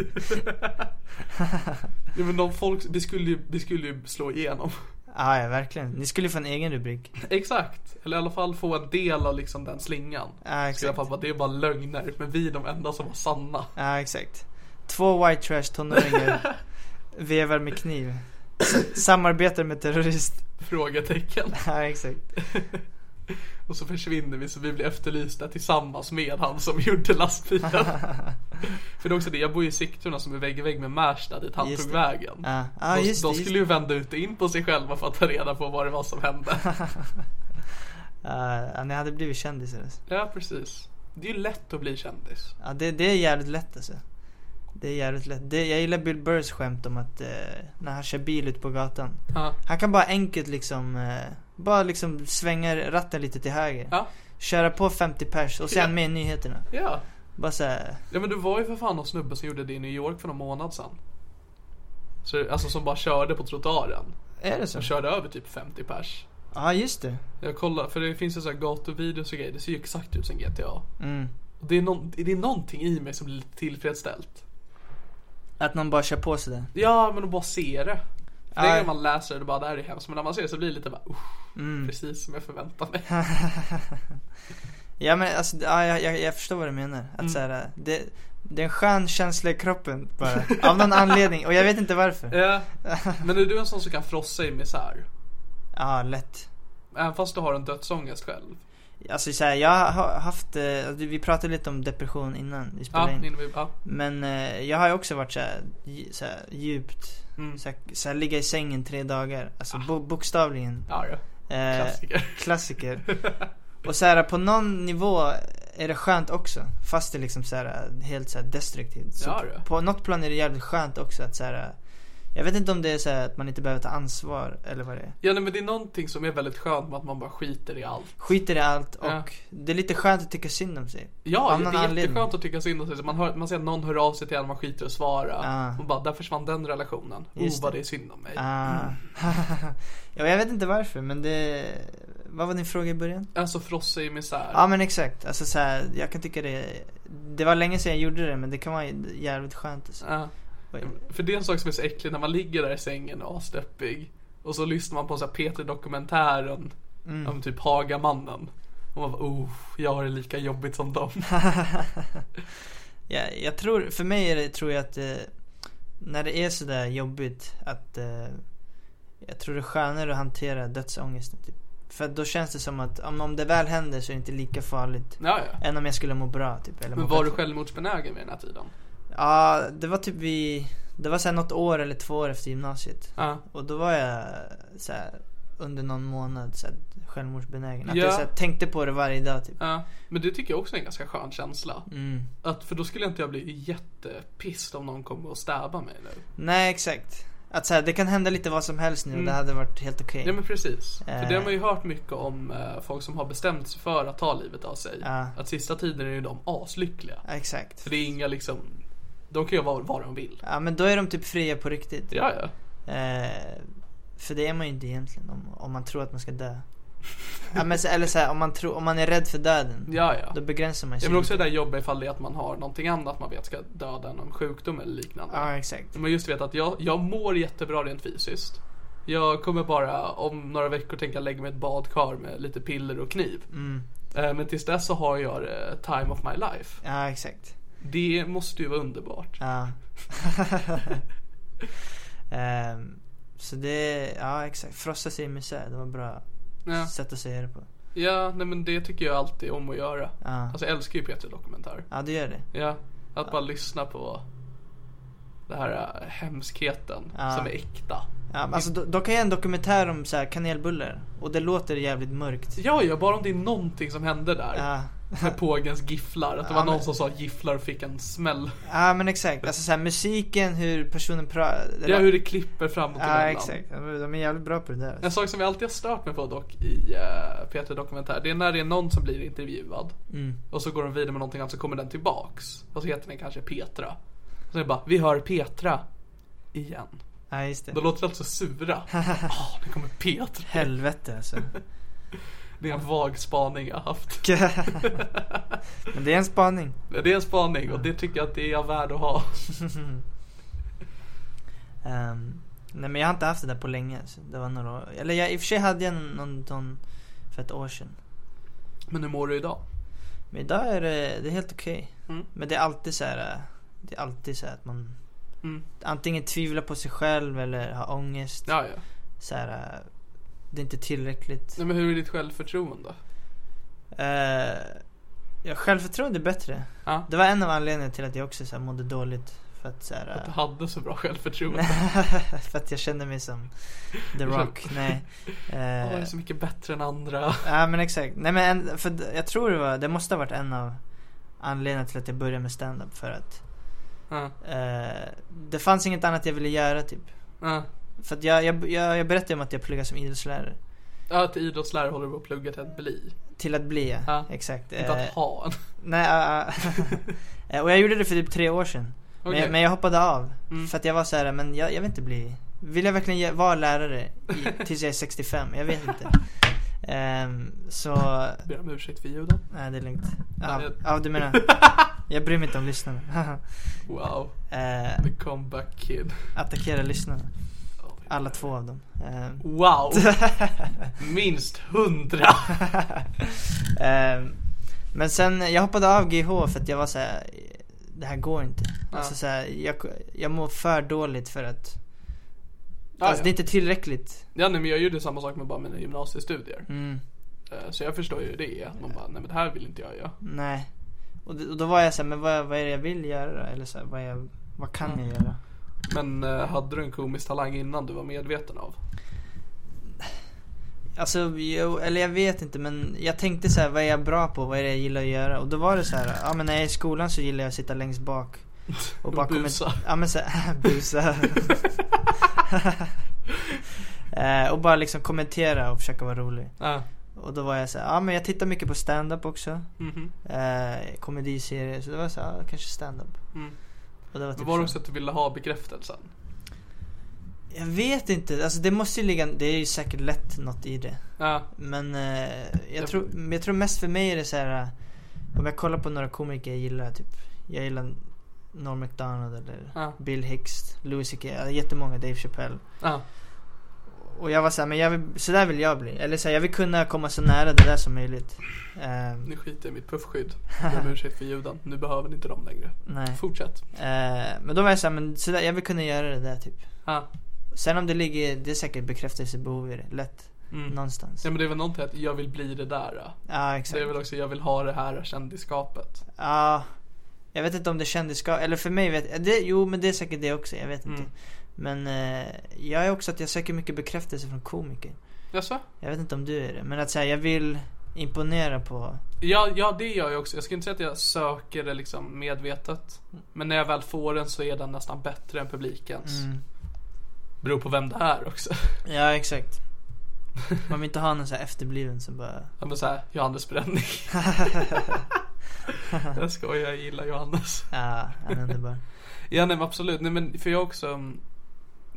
B: Ja, men de folk, det skulle ju, det skulle ju slå igenom.
C: Ja, ja verkligen. Ni skulle få en egen rubrik.
B: Exakt, eller i alla fall få en del av liksom den slingan. Så
C: Ja
B: i alla
C: exakt.
B: fall bara, det är bara lögner, men vi är de enda som var sanna.
C: Ja exakt. Två white trash tonåringar vevar med kniv. S- samarbetar med terrorist.
B: Frågetecken.
C: Ja exakt.
B: Och så försvinner vi så vi blir efterlysta tillsammans med han som gjorde lastbilen. För det är också det, jag bor ju i Sigtuna som är vägg i vägg med Märsta dit han
C: Just
B: tog
C: det.
B: vägen.
C: Ja, ah,
B: de
C: just det.
B: de
C: Just
B: skulle
C: det.
B: ju vända ut och in på sig själva för att ta reda på vad det var som hände.
C: Ja, ja, ni hade blivit kändisar alltså.
B: ja, precis. Det är ju lätt att bli kändis.
C: Ja, det, det är jävligt lätt alltså. Det är jävligt lätt. Det, jag gillar Bill Burrs skämt om att eh, när han kör bil ut på gatan.
B: Ja,
C: Han kan bara enkelt liksom eh, Bara liksom svänga ratten lite till höger.
B: Ja.
C: Köra på 50 pers och sen
B: Ja.
C: med i nyheterna.
B: Ja.
C: Bara såhär.
B: ja, men du var ju för fan någon snubbe som gjorde det i New York för någon månad sedan. Så, alltså som bara körde på trottoaren.
C: Är det så?
B: Och körde över typ 50 pers.
C: Ja, just det.
B: Jag kollar, för det finns ju såhär gatuvideos och grejer, det ser ju exakt ut som GTA.
C: Mm.
B: Och det, är någon, det är någonting i mig som blir lite tillfredsställt.
C: Att någon bara kör på sådär.
B: Ja, men att bara se det. För Det är
C: Ja.
B: när man läser det bara, det här är hemskt. Men när man ser det så blir det lite bara, usch,
C: Mm.
B: precis som jag förväntar mig.
C: Ja men alltså, ja, jag, jag, jag förstår vad du menar. Att
B: Mm.
C: så här, det, det är en skön känsla i kroppen bara. Av någon anledning och jag vet inte varför.
B: Ja. Men är du en sån som kan frossa i misär?
C: Ja, lätt.
B: Även fast du har en dödsångest själv?
C: Alltså så här, jag har haft, eh, alltså, vi pratade lite om depression innan vi
B: Ja,
C: spelade in.
B: innan vi, ja.
C: Men eh, jag har ju också varit så här, dj- så här djupt,
B: Mm.
C: så här, så här ligga i sängen tre dagar. Alltså bo, bokstavligen.
B: Ja, ja.
C: Eh,
B: Ah. Klassiker.
C: klassiker. Och så här, på någon nivå är det skönt också. Fast det är liksom så här, helt så här destruktivt. Så
B: Ja, ja.
C: på något plan är det jävligt skönt också att så här, eh, Jag vet inte om det är så här att man inte behöver ta ansvar eller vad det är.
B: Ja, nej, men det är någonting som är väldigt skönt med att man bara skiter i allt.
C: Skiter i allt och
B: Ja.
C: det är lite skönt att tycka synd om sig.
B: Ja,
C: Av någon
B: det är
C: anledning.
B: jätteskönt att tycka synd om sig. Så Man, hör, man ser att någon hör av sig till en, man skiter och svarar.
C: Ja.
B: Och bara, där försvann den relationen.
C: Just
B: oh, vad
C: det.
B: det är synd om mig.
C: Ah. ja, jag vet inte varför men det... Vad var din fråga i början?
B: Alltså frossa i misär.
C: Ja men exakt, alltså så här, jag kan tycka det Det var länge sedan jag gjorde det men det kan vara jävligt skönt alltså.
B: Ja. För det är en sak som är så äcklig när man ligger där i sängen och asdeppig. Och så lyssnar man på en sån här P3-dokumentären
C: Mm.
B: om typ Hagamannen. Och man bara, oh, jag har det lika jobbigt som dem.
C: Ja, jag tror, för mig är det, tror jag att eh, när det är sådär jobbigt att eh, jag tror det är skönare att hantera dödsångesten. Typ. För att då känns det som att om, om det väl händer så är det inte lika farligt
B: ja, ja.
C: än om jag skulle må bra. Typ, eller
B: Men
C: må
B: var du
C: bättre.
B: självmordsbenägen vid den här tiden?
C: Ja, det var typ vi, det var såhär något år eller två år efter gymnasiet.
B: Ja.
C: Och då var jag såhär under någon månad såhär, självmordsbenägen. Att
B: Ja.
C: jag såhär, tänkte på det varje dag typ.
B: Ja. Men det tycker jag också är en ganska skön känsla.
C: Mm.
B: Att, för då skulle inte jag bli jättepist om någon kommer och stäba mig nu.
C: Nej exakt. Att såhär, det kan hända lite vad som helst nu och det
B: Mm.
C: hade varit helt okej.
B: Ja men precis. För
C: Eh.
B: det har man ju hört mycket om eh, folk som har bestämt sig för att ta livet av sig.
C: Ja.
B: Att sista tiden är ju de aslyckliga.
C: Ja, Exakt.
B: För det är inga liksom, de kan ju vara vad de vill.
C: Ja men då är de typ fria på riktigt.
B: Ja, ja.
C: Eh, för det är man ju inte egentligen om, om man tror att man ska dö. ja, men, så- eller så här, om, man tror om man är rädd för döden.
B: Ja, ja.
C: Då begränsar man sig.
B: Jag vill också
C: lite.
B: det där jobba ifall det är att man har någonting annat man vet ska döda, någon sjukdom eller liknande.
C: Ja exakt.
B: Men just vet att jag, jag mår jättebra rent fysiskt. Jag kommer bara om några veckor tänka lägga mig i ett badkar med lite piller och kniv.
C: Mm.
B: Eh, Men tills dess så har jag eh, time of my life.
C: Ja exakt.
B: Det måste ju vara underbart.
C: Ja. Ehm, så det, ja exakt. Frossa sig i misär, det var bra
B: Ja,
C: sätt att säga det på.
B: ja nej, men det tycker jag alltid om att göra.
C: Ja,
B: Alltså jag älskar ju Peter Dokumentär.
C: ja det gör det.
B: Ja, att bara lyssna på den här eh, hemskheten
C: Ja.
B: som är äkta.
C: Ja, men alltså, då, då kan jag en dokumentär om så här, kanelbullar och det låter jävligt mörkt.
B: Ja, ja, bara om det är någonting som hände där.
C: Ja.
B: Med pågens gifflar. Att det
C: Ja,
B: var någon
C: men-
B: som sa gifflar och fick en smäll.
C: Ja men exakt, alltså så här, musiken, hur personen pratar.
B: Ja, hur det klipper framåt
C: Ja exakt, de är de är jävligt bra på det där. alltså.
B: En sak som jag alltid har stört mig på dock i uh, Peter Dokumentär. Det är när det är någon som blir intervjuad.
C: Mm.
B: Och så går de vidare med någonting annat så kommer den tillbaks. Och så heter den kanske Petra. Och så är det bara, vi hör Petra. Igen.
C: Ja just det.
B: Då låter det alltså sura. Åh, nu kommer Petra.
C: Helvete alltså.
B: Det är en vag spaning jag har haft.
C: men det är en spaning.
B: Det är en spaning och det tycker jag att det är värd att ha.
C: Ehm, nej men jag har inte haft det där på länge. Så det var några år. Eller jag, i och för sig hade jag någon sån för ett år sedan.
B: Men hur mår du idag?
C: Men idag är det, det är helt okej.
B: Mm.
C: Men det är alltid så här. eh, Det är alltid så här att man
B: Mm.
C: antingen tvivlar på sig själv eller har ångest.
B: Ja, ja.
C: Så här, eh, det är inte tillräckligt.
B: Nej, men hur är ditt självförtroende?
C: Eh, jag självförtroende är bättre.
B: Ja.
C: Det var en av anledningarna till att jag också så här, mådde dåligt. För att, så här,
B: Att du
C: eh,
B: hade så bra självförtroende.
C: för att jag kände mig som The Rock. Nej.
B: Jag
C: Eh,
B: är så mycket bättre än andra.
C: ja men exakt. Nej men en, för d- jag tror det var, det måste ha varit en av anledningarna till att jag började med stand-up för att
B: Ja,
C: eh, det fanns inget annat jag ville göra typ.
B: ja,
C: För att jag, jag, jag, jag berättade om att jag pluggade som idrottslärare.
B: Ja, till idrottslärare håller du på att plugga till att bli.
C: Till att bli, ja.
B: Ja.
C: Exakt.
B: Inte
C: Eh,
B: att ha en.
C: Nej, ja, ja. och jag gjorde det för typ tre år sedan. Men,
B: Okej.
C: jag, men jag hoppade av.
B: Mm.
C: För att jag var så här, men jag, jag vill inte bli... Vill jag verkligen ge- vara lärare i, tills jag är 65? Jag vet inte. Ehm, så...
B: Ber om ursäkt för ljuden.
C: Nej, det är lugnt. Ja,
B: Ja, jag-
C: ja, du menar. Jag bryr mig inte om lyssnarna.
B: Wow,
C: Eh,
B: the comeback kid.
C: attackera lyssnarna.
B: Oh,
C: Alla två av dem. Ehm,
B: Wow! Minst hundra!
C: Ehm, men sen, jag hoppade av GH för att jag var så här. det här går inte.
B: Ja.
C: Alltså så här, jag, jag mår för dåligt för att,
B: Ja,
C: alltså
B: ja.
C: det är inte tillräckligt.
B: ja nej, men jag gjorde samma sak med bara mina gymnasiestudier.
C: Mm,
B: Eh, Så jag förstår ju hur det. är. Att man bara, nej men det här vill inte jag göra.
C: nej. Och, d- och då var jag så här, men vad, vad är det jag vill göra då? Eller så här, vad, är jag, vad kan jag göra?
B: Men eh, hade du en komisk talang innan du var medveten av?
C: Alltså, jag, eller jag vet inte men jag tänkte så här, vad är jag bra på? Vad är det jag gillar att göra? Och då var det så här, ja men när jag är i skolan så gillar jag att sitta längst bak. Och bara kommer-
B: busa.
C: Ja men så här, busa. Eh, och bara liksom kommentera och försöka vara rolig.
B: Ja.
C: Och då var jag så här, ja men jag tittar mycket på stand-up också.
B: Mhm.
C: Eh, komediserier, så det var så här, ja, kanske stand-up.
B: Mm.
C: Och det var
B: Men
C: typ
B: var det
C: så.
B: också att du ville ha bekräftelsen?
C: Jag vet inte, alltså det måste ju ligga, det är ju säkert lätt något i det.
B: Ja.
C: Men eh, jag,
B: Jag-
C: tror, men jag tror mest för mig är det så här. eh, Om jag kollar på några komiker jag gillar, typ. Jag gillar Norm MacDonald eller
B: Ja.
C: Bill Hicks, Louis CK, ja, jättemånga, Dave Chappelle.
B: Ja.
C: Och jag var såhär, men jag vill, så där vill jag bli. Eller så här, jag vill kunna komma så nära det där som möjligt. Eh,
B: Nu skiter jag i mitt puffskydd. Jag ber om ursäkt för ljuden. Nu behöver ni inte dem längre.
C: nej.
B: Fortsätt.
C: Eh, men då var jag såhär, men så där, jag vill kunna göra det där typ.
B: Ja.
C: Sen om det ligger, det är säkert bekräftelsebehov i det, lätt.
B: Mm.
C: Någonstans.
B: Ja men det är väl någonting att jag vill bli det där. ja.
C: Ja,
B: Det
C: exakt.
B: är väl också jag vill ha det här kändiskapet.
C: Ja, jag vet inte om det är kändisskap, eller för mig vet det, jo men det är säkert det också, jag vet inte.
B: Mm.
C: Men eh, jag är också att jag söker mycket bekräftelse från komiker.
B: Jaså?
C: Jag vet inte om du är det, men att säga jag vill imponera på,
B: Ja, ja, det gör jag också. Jag skulle inte säga att jag söker det liksom medvetet. Men när jag väl får den så är den nästan bättre än publikens.
C: mm.
B: Beror på vem det är också.
C: ja exakt. Man vill inte ha någon så här efterbliven som bara,
B: Ja men såhär, Johannes Bränning. jag skojar, jag gillar Johannes.
C: ja, han är underbar.
B: Ja nej men absolut, nej men för jag också mm,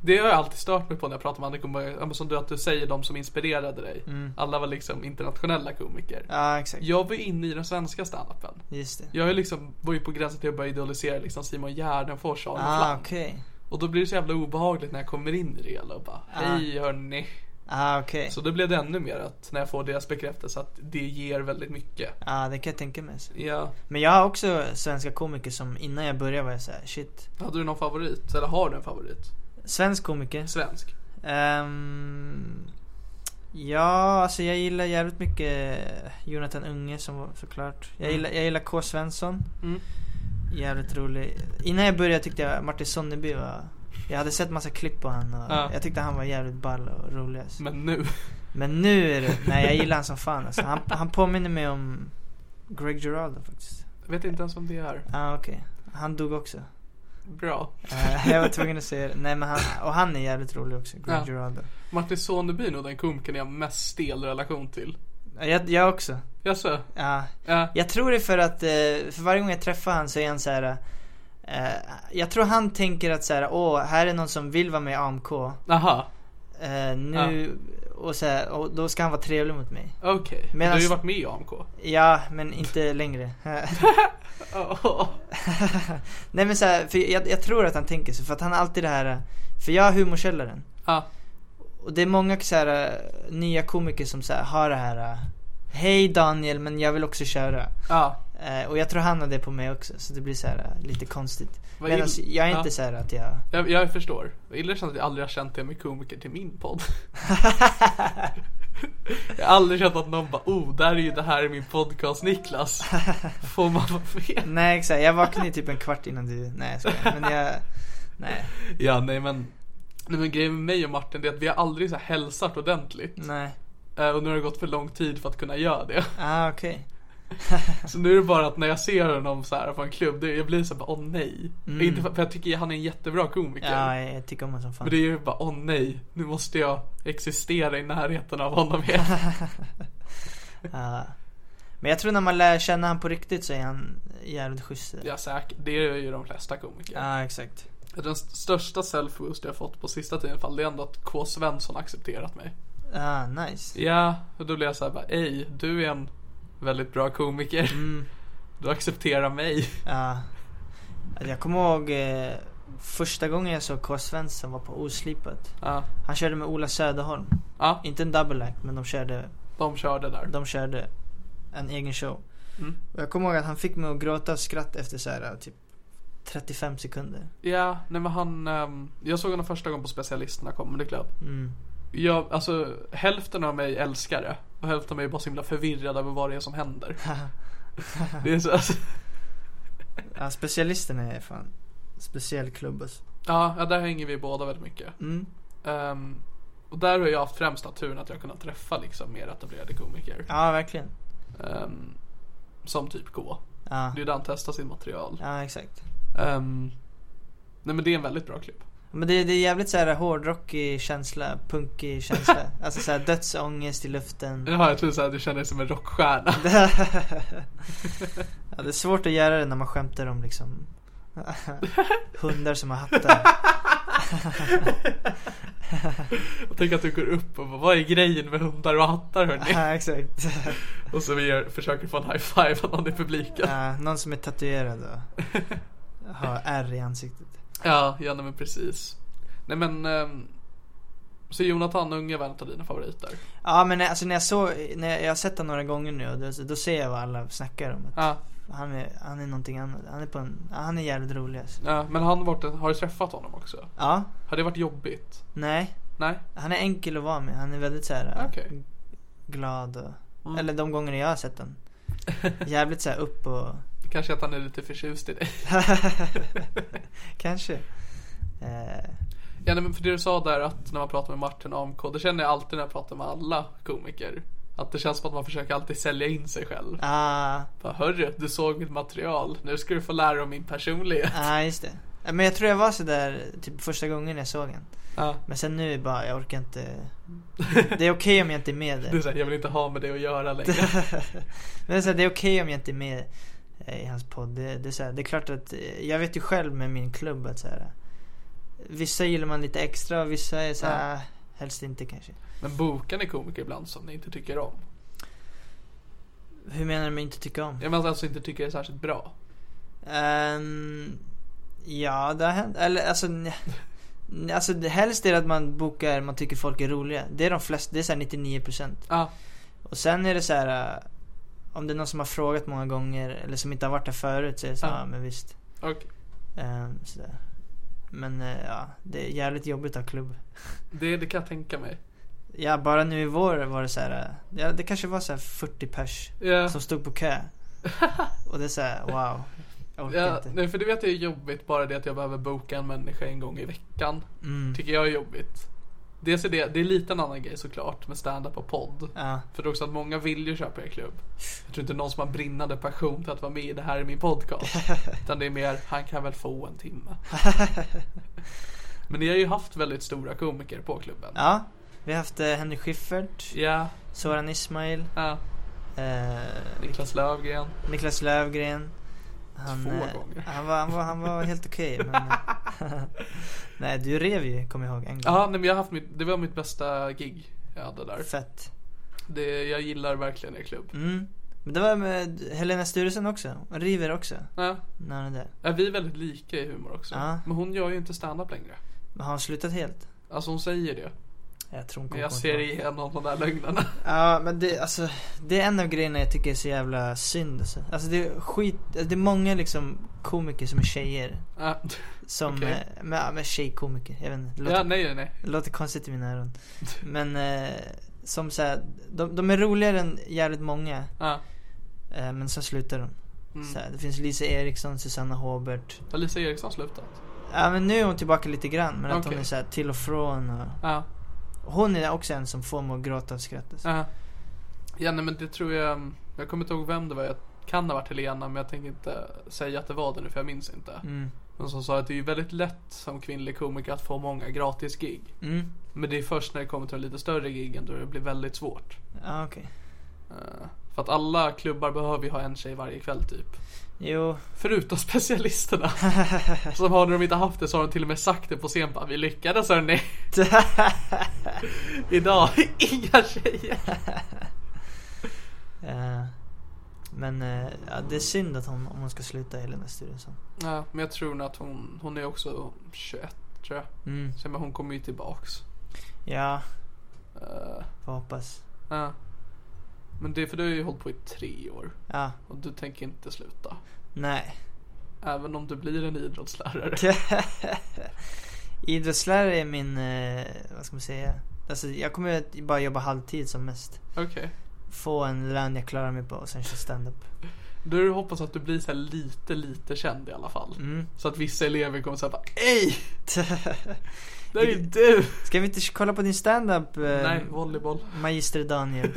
B: Det har jag alltid stört mig på när jag pratar med andra komiker, Ja, men som du, att du säger de som inspirerade dig
C: Mm.
B: Alla var liksom internationella komiker
C: Ja, exakt.
B: Jag var inne i den svenska standupen
C: Just det.
B: Jag är liksom, var ju på gränsen till att börja idolisera liksom Simon Gärdenfors och Aron
C: Ah,
B: Flam
C: okej.
B: Och då blir det så jävla obehagligt när jag kommer in i det hela och bara Hej hörni
C: Ah, okej.
B: Så då blev det ännu mer att när jag får deras bekräftelse att det ger väldigt mycket
C: Ja, det kan jag tänka mig. alltså.
B: Ja,
C: Men jag har också svenska komiker som innan jag började var jag såhär, shit.
B: hade du någon favorit? Eller har du en favorit?
C: Svensk komiker.
B: Svensk?
C: Ehm, ja, alltså jag gillar jävligt mycket Jonathan Unge som var såklart. Jag gillar, jag gillar K. Svensson.
B: Mm.
C: Jävligt rolig. Innan jag började tyckte jag Martin Sonneby var... Jag hade sett massa klipp på han och
B: Ja. Mm.
C: jag tyckte han var jävligt ball och rolig. Alltså.
B: Men nu?
C: Men nu är det... Nej, jag gillar han som fan alltså. han, han påminner mig om Greg Giraldo faktiskt.
B: Jag vet inte ens om det är
C: ah, okej. Han dog också.
B: Bra
C: Eh, jag var tvungen att säga det. Nej, men han, och han är jävligt rolig också, Greg
B: Ja.
C: Giraldo.
B: Martin Soneby är nog den komikern jag har mest stel relation till.
C: Jag, jag också.
B: Jaså?
C: Ja,
B: Ja.
C: Jag tror det är för att, eh, för varje gång jag träffar han så är han så här. eh, Jag tror han tänker att så här, åh, här är någon som vill vara med i AMK.
B: Aha,
C: eh, nu, och, så här, och då ska han vara trevlig mot mig.
B: okej. Men Du
C: Medans-
B: har ju varit med i AMK.
C: Ja, men inte längre.
B: Oh.
C: Nej men så här, för jag, jag tror att han tänker så, för att han har alltid det här, eh, för jag har humorkällaren.
B: Ja,
C: Och det är många så här, eh, nya komiker som så här, har det här, eh, hej Daniel, men jag vill också köra.
B: ja.
C: Eh, och jag tror han har det på mig också, så det blir så här eh, lite konstigt.
B: Vad
C: Medan
B: ill-
C: jag är
B: ja.
C: inte så här att jag...
B: Jag, jag förstår. Vad illa det känns att jag aldrig har känt det med komiker till min podd. jag har aldrig känt att någon bara oh, där är ju det här i min podcast Niklas. Får man vara fel?
C: Nej exakt, jag vaknade ju typ en kvart innan du... Nej jag skojar. Men jag... Nej,
B: Ja, nej men. Nej men grejen med mig och Martin det är att vi har aldrig så här hälsat ordentligt.
C: nej.
B: Eh, Och nu har det gått för lång tid för att kunna göra det.
C: Ah okej.
B: Så nu är det bara att när jag ser honom så här på en klubb, det, jag blir så här, bara, åh nej. Inte för, för jag tycker han är en jättebra komiker.
C: Mm. Ja, jag, jag tycker om honom som fan.
B: Men det är ju bara, åh nej, nu måste jag existera i närheten av honom igen.
C: Ja. Ah. Men jag tror när man lär känna han på riktigt så är han jävligt schysst. Ja,
B: ja, säkert. Det är ju de flesta komiker.
C: exakt.
B: Den st- största self-boost jag fått på sista tiden i alla fall, det är ändå att K. Svensson accepterat mig.
C: Ah, nice.
B: Ja, och då blev jag såhär bara, ej, du är en väldigt bra komiker.
C: Mm.
B: Du accepterar mig.
C: Ja. Ah. Alltså, Jag kommer ihåg eh, första gången jag såg K. Svensson var på Oslipat.
B: Ja,
C: Han körde med Ola Söderholm.
B: ja
C: Inte en double act men de körde,
B: de körde där.
C: de körde en egen show.
B: Mm.
C: Och jag kommer ihåg att han fick mig att gråta av skratt efter så här, typ 35 sekunder.
B: Ja, nej men han, ehm, jag såg honom första gången på specialisterna Comedy Club.
C: Mm.
B: Jag, alltså hälften av mig älskar det och hälften av mig är bara så himla förvirrad över vad det är som händer. det är så, alltså,
C: Ja, specialisterna är fan speciell klubb alltså.
B: ja, ja, där hänger vi båda väldigt mycket.
C: Mm.
B: Ehm, och där har jag haft främsta turen att jag kunnat träffa liksom mer etablerade komiker.
C: Ja, verkligen.
B: Ehm, som typ K.
C: Ja,
B: Det är där han testar sitt material.
C: ja exakt.
B: Ehm, nej men det är en väldigt bra klipp.
C: Men det, det är jävligt såhär hårdrockig känsla, punkig känsla. alltså såhär dödsångest i luften.
B: Ja, jag tror såhär, du känner dig som en rockstjärna.
C: ja, det är svårt att göra det när man skämtar om liksom hundar som har hattar.
B: Jag tänker att du går upp och bara, vad är grejen med hundar och hattar hörni?
C: ja, exakt.
B: Och så vi gör, försöker få en high five av någon i publiken.
C: Ja, någon som är tatuerad och har ärr i ansiktet.
B: Ja, ja nej, men precis. Nej men, ehm, så Jonathan Unge var en av dina favoriter?
C: Ja men alltså när jag såg, när jag, jag har sett honom några gånger nu och då, då ser jag vad alla snackar om. Att
B: Ja,
C: han, är, han är någonting annat. Han är, på en, ja, han är jävligt rolig alltså.
B: ja men han har varit, har du träffat honom också?
C: Ja,
B: Har det varit jobbigt?
C: nej.
B: Nej?
C: Han är enkel att vara med. Han är väldigt såhär
B: Okej.
C: glad och... Eller de gångerna jag har sett honom. Jävligt såhär upp och...
B: Kanske att han är lite förtjust i dig?
C: Kanske. Eh,
B: Ja nej, men för det du sa där att när man pratar med Martin AMK, det känner jag alltid när jag pratar med alla komiker. Att det känns som att man försöker alltid sälja in sig själv.
C: ah,
B: Bara, Hörru, du såg mitt material, nu ska du få lära dig om min personlighet.
C: ah, just det. Eh, Men jag tror jag var sådär typ första gången jag såg honom.
B: Ja.
C: Men sen nu är det bara, jag orkar inte. Det är okej om jag inte är med
B: Du
C: där.
B: säger jag vill inte ha med det att göra längre.
C: Men det är, så här, det är okej om jag inte är med eh, i hans podd. Det, det, är så här, det är klart att eh, jag vet ju själv med min klubb att så här, vissa gillar man lite extra och vissa är så här, "Ah, helst inte kanske.
B: Men bokar ni komiker ibland som ni inte tycker om?
C: Hur menar du med inte tycka om?
B: Jag menar alltså inte tycker är särskilt bra.
C: Ehm, ja, det har hänt. Eller alltså, nj- nj- alltså det- helst är det att man bokar, man tycker folk är roliga. Det är de flesta, det är så här 99%.
B: Ja,
C: Och sen är det så här eh, om det är någon som har frågat många gånger eller som inte har varit där förut så är det så här,
B: Ja.
C: ja men visst.
B: och
C: Ehm, sådär. Men eh, ja, det är jävligt jobbigt att ha klubb.
B: det, det kan jag tänka mig.
C: Ja, bara nu i vår var det så här. eh, Ja, det kanske var så här 40 pers
B: Ja,
C: som stod på kö. Och det är så här, wow. Jag orkar
B: ja,
C: inte.
B: nej, för du vet det är jobbigt bara det att jag behöver boka en människa en gång i veckan.
C: Mm.
B: Tycker jag är jobbigt. Dels är det, det är lite en annan grej såklart med stand-up och podd.
C: Ja,
B: För det är också att många vill ju köpa er klubb. Jag tror inte någon som har brinnande passion till att vara med i det här i min podcast. Utan det är mer, han kan väl få en timme. Men ni har ju haft väldigt stora komiker på klubben.
C: ja. Vi har haft eh, Henry Schiffert,
B: Ja,
C: Soran Ismail,
B: ja.
C: eh,
B: Niklas Löfgren.
C: Niklas Lövgren. Han,
B: Två
C: eh,
B: gånger.
C: Han var, han var, han var helt okej. men, eh, Nej, du rev ju, kommer jag ihåg, en gång.
B: Ja, nej, men jag har haft mitt, det var mitt bästa gig jag hade där.
C: Fett.
B: Det, jag gillar verkligen er klubb.
C: Mm. Men det var med Helena Sturesen också. Hon river också.
B: Ja,
C: När hon är där.
B: ja, Äh, vi är väldigt lika i humor också.
C: Ja.
B: Men hon gör ju inte stand-up längre.
C: Men har hon slutat helt?
B: Alltså hon säger det.
C: Jag tror hon
B: Men
C: kommer
B: jag
C: på ett
B: ser
C: bra.
B: igenom de där lögnerna.
C: Ja, men det, alltså, det är en av grejerna jag tycker är så jävla synd. Alltså, alltså det är skit, det är många liksom komiker som är tjejer.
B: Ja,
C: Som,
B: Okej.
C: eh, men, ja, men tjejkomiker, jag vet inte. Det låter,
B: ja nej, nej, nej.
C: det låter konstigt i mina öron. Men eh, som såhär, de, de är roligare än jävligt många.
B: Ja.
C: Eh, men sen slutar de.
B: Mm.
C: Så här, det finns Lisa Eriksson, Susanna Håbert.
B: Har Lisa Eriksson slutat?
C: Ja men nu är hon tillbaka lite grann men att
B: Okej.
C: hon är så här till och från och
B: Ja.
C: Hon är också en som får mig att gråta av skratt alltså.
B: Ja. Ja, nej men det tror jag. mm, Jag kommer inte ihåg vem det var. Jag kan ha varit Helena men jag tänker inte säga att det var det nu för jag minns inte.
C: Mm.
B: Men som sa att det är ju väldigt lätt som kvinnlig komiker att få många gratis gig.
C: Mm.
B: Men det är först när det kommer till de lite större giggen då det blir väldigt svårt.
C: Ja, okej.
B: Eh, För att alla klubbar behöver ju ha en tjej varje kväll typ.
C: Jo.
B: Förutom specialisterna. Som har när de inte haft det så har de till och med sagt det på scen bara, Vi lyckades hörni. Idag, inga tjejer.
C: Eh, men eh, ja, det är synd att hon, om hon ska sluta Helena Sturesson.
B: Ja, men jag tror nog att hon, hon är också 21 tror jag.
C: Mm.
B: Så, men hon kommer ju tillbaks.
C: Ja,
B: Eh,
C: får hoppas.
B: ja. Men det är för du har ju hållit på i tre år.
C: Ja,
B: Och du tänker inte sluta.
C: nej.
B: Även om du blir en idrottslärare.
C: Idrottslärare är min, eh, vad ska man säga? Alltså jag kommer att bara jobba halvtid som mest.
B: Okej.
C: Få en lön jag klarar mig på och sen köra stand-up.
B: Du hoppas att du blir så här lite, lite känd i alla fall.
C: Mm.
B: Så att vissa elever kommer säga bara Ej! Det är ju du!
C: Ska vi inte kolla på din stand-up? eh,
B: Nej, volleyboll.
C: Magister Daniel.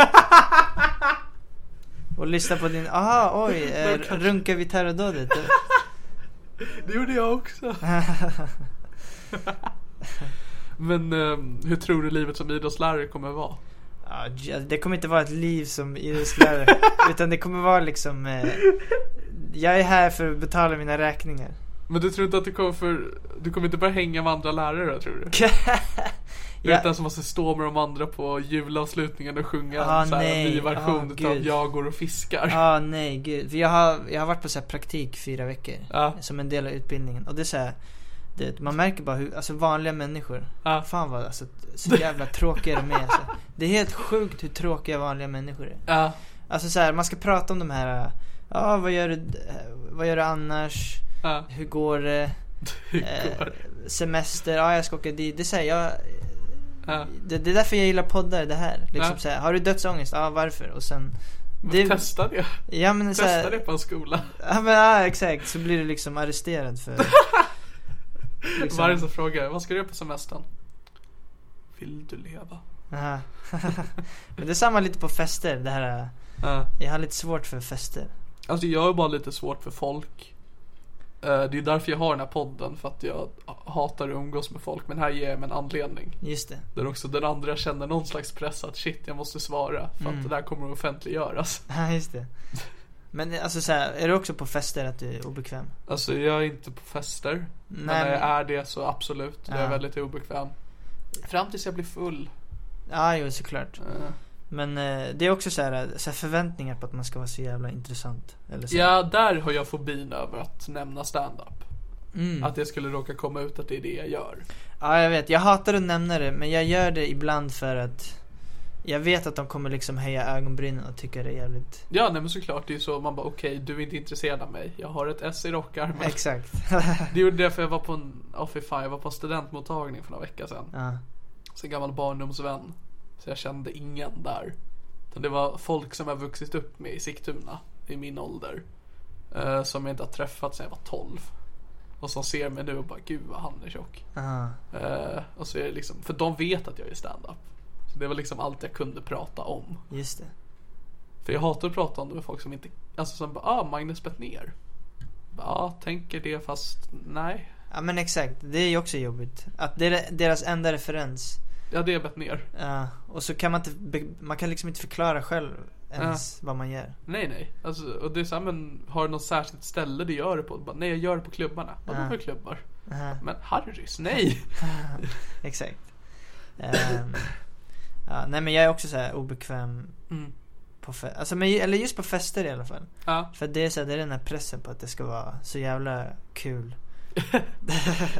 C: Och lyssna på din, aha oj, eh, runka vid terrordådet.
B: Det gjorde jag också. Men ehm, hur tror du livet som idrottslärare kommer vara?
C: Ja, j- alltså, det kommer inte vara ett liv som idrottslärare. utan det kommer vara liksom, eh, jag är här för att betala mina räkningar.
B: Men du tror inte att du kommer för... Du kommer inte börja hänga med andra lärare tror du? Du
C: Ja.
B: vet den som måste stå med de andra på julavslutningen och sjunga
C: Ah,
B: en så här,
C: nej.
B: ny version
C: Ah,
B: utav
C: gud.
B: Jag går och fiskar.
C: Ja, nej gud. För jag har, jag har varit på så här praktik fyra veckor.
B: Ja.
C: Som en del av utbildningen. Och det är så här, du vet, man märker bara hur, alltså vanliga människor.
B: Ja.
C: Fan vad, alltså, så jävla tråkiga de är alltså. Det är helt sjukt hur tråkiga vanliga människor är.
B: Ja.
C: Alltså så här, man ska prata om de här, ja vad gör du, eh, vad gör du annars?
B: Ja.
C: Hur går det?
B: Det
C: Eh,
B: går.
C: semester, ja jag ska åka dit. Det är så här, jag,
B: Ja.
C: det, det är därför jag gillar poddar, det här. Liksom
B: Ja.
C: så här, har du dödsångest? Ja, varför? Och sen... Det,
B: Testa det.
C: ja men så
B: Testa
C: här,
B: det på en skola.
C: Ja men ja, exakt, så blir du liksom arresterad för... liksom-
B: Varje som frågar, vad ska du göra på semestern? Vill du leva?
C: Aha. men det är samma lite på fester, det här...
B: Ja.
C: Jag har lite svårt för fester.
B: Alltså jag är bara lite svårt för folk. Eh, Det är därför jag har den här podden, för att jag hatar att umgås med folk. Men här ger jag mig en anledning.
C: Just det.
B: Där också den andra känner någon slags press att shit, jag måste svara. För att
C: Mm.
B: det där kommer att offentliggöras.
C: Ja, just det. Men alltså så här, är du också på fester att du är obekväm?
B: Alltså jag är inte på fester. men eh,
C: Nej,
B: när jag
C: men-
B: är det så absolut, då är
C: Ja.
B: jag väldigt obekväm. Fram tills jag blir full.
C: Ja, jo såklart.
B: Eh,
C: Men eh, det är också så här, så här förväntningar på att man ska vara så jävla intressant. Eller så.
B: Ja, där har jag fobin över att nämna stand-up.
C: Mm.
B: Att det skulle råka komma ut att det är det jag gör.
C: Ja, jag vet. Jag hatar att nämna det, men jag gör det ibland för att jag vet att de kommer liksom höja ögonbrynen och tycka det är jävligt...
B: Ja, nej men såklart, det är ju så man bara okej, du är inte intresserad av mig. Jag har ett S i rockarmen.
C: Exakt.
B: Det gjorde jag för jag var på en, ja fy fan, jag var på en studentmottagning för några veckor sedan.
C: ja.
B: Så en gammal barndomsvän. Så jag kände ingen där. Utan det var folk som jag vuxit upp med i Sigtuna, i min ålder. Eh, som jag inte har träffat sedan jag var 12. Och som ser mig nu och bara, gud vad han är tjock.
C: Aha.
B: Eh, och så är det liksom, för de vet att jag är stand-up. Så det var liksom allt jag kunde prata om.
C: Just det.
B: För jag hatar att prata om det med folk som inte, alltså som bara, ah Magnus Bettner. Bara, Ja, tänker det fast nej.
C: Ja men exakt, det är ju också jobbigt. Att det är deras enda referens.
B: Ja, det är Bettner.
C: Ja, och så kan man inte, be- man kan liksom inte förklara själv ens vad man gör.
B: Nej, nej. Alltså, och det är så här, men har du något särskilt ställe du gör det på? Bara, nej, jag gör det på klubbarna. Vadå
C: Ja.
B: för klubbar?
C: Aha,
B: Men Harrys, nej!
C: exakt. Ehm, ja, nej men jag är också så här obekväm
B: Mm.
C: på fe- alltså, men, eller just på fester i alla fall.
B: Ja,
C: För det är, så här, det är den här pressen på att det ska vara så jävla kul.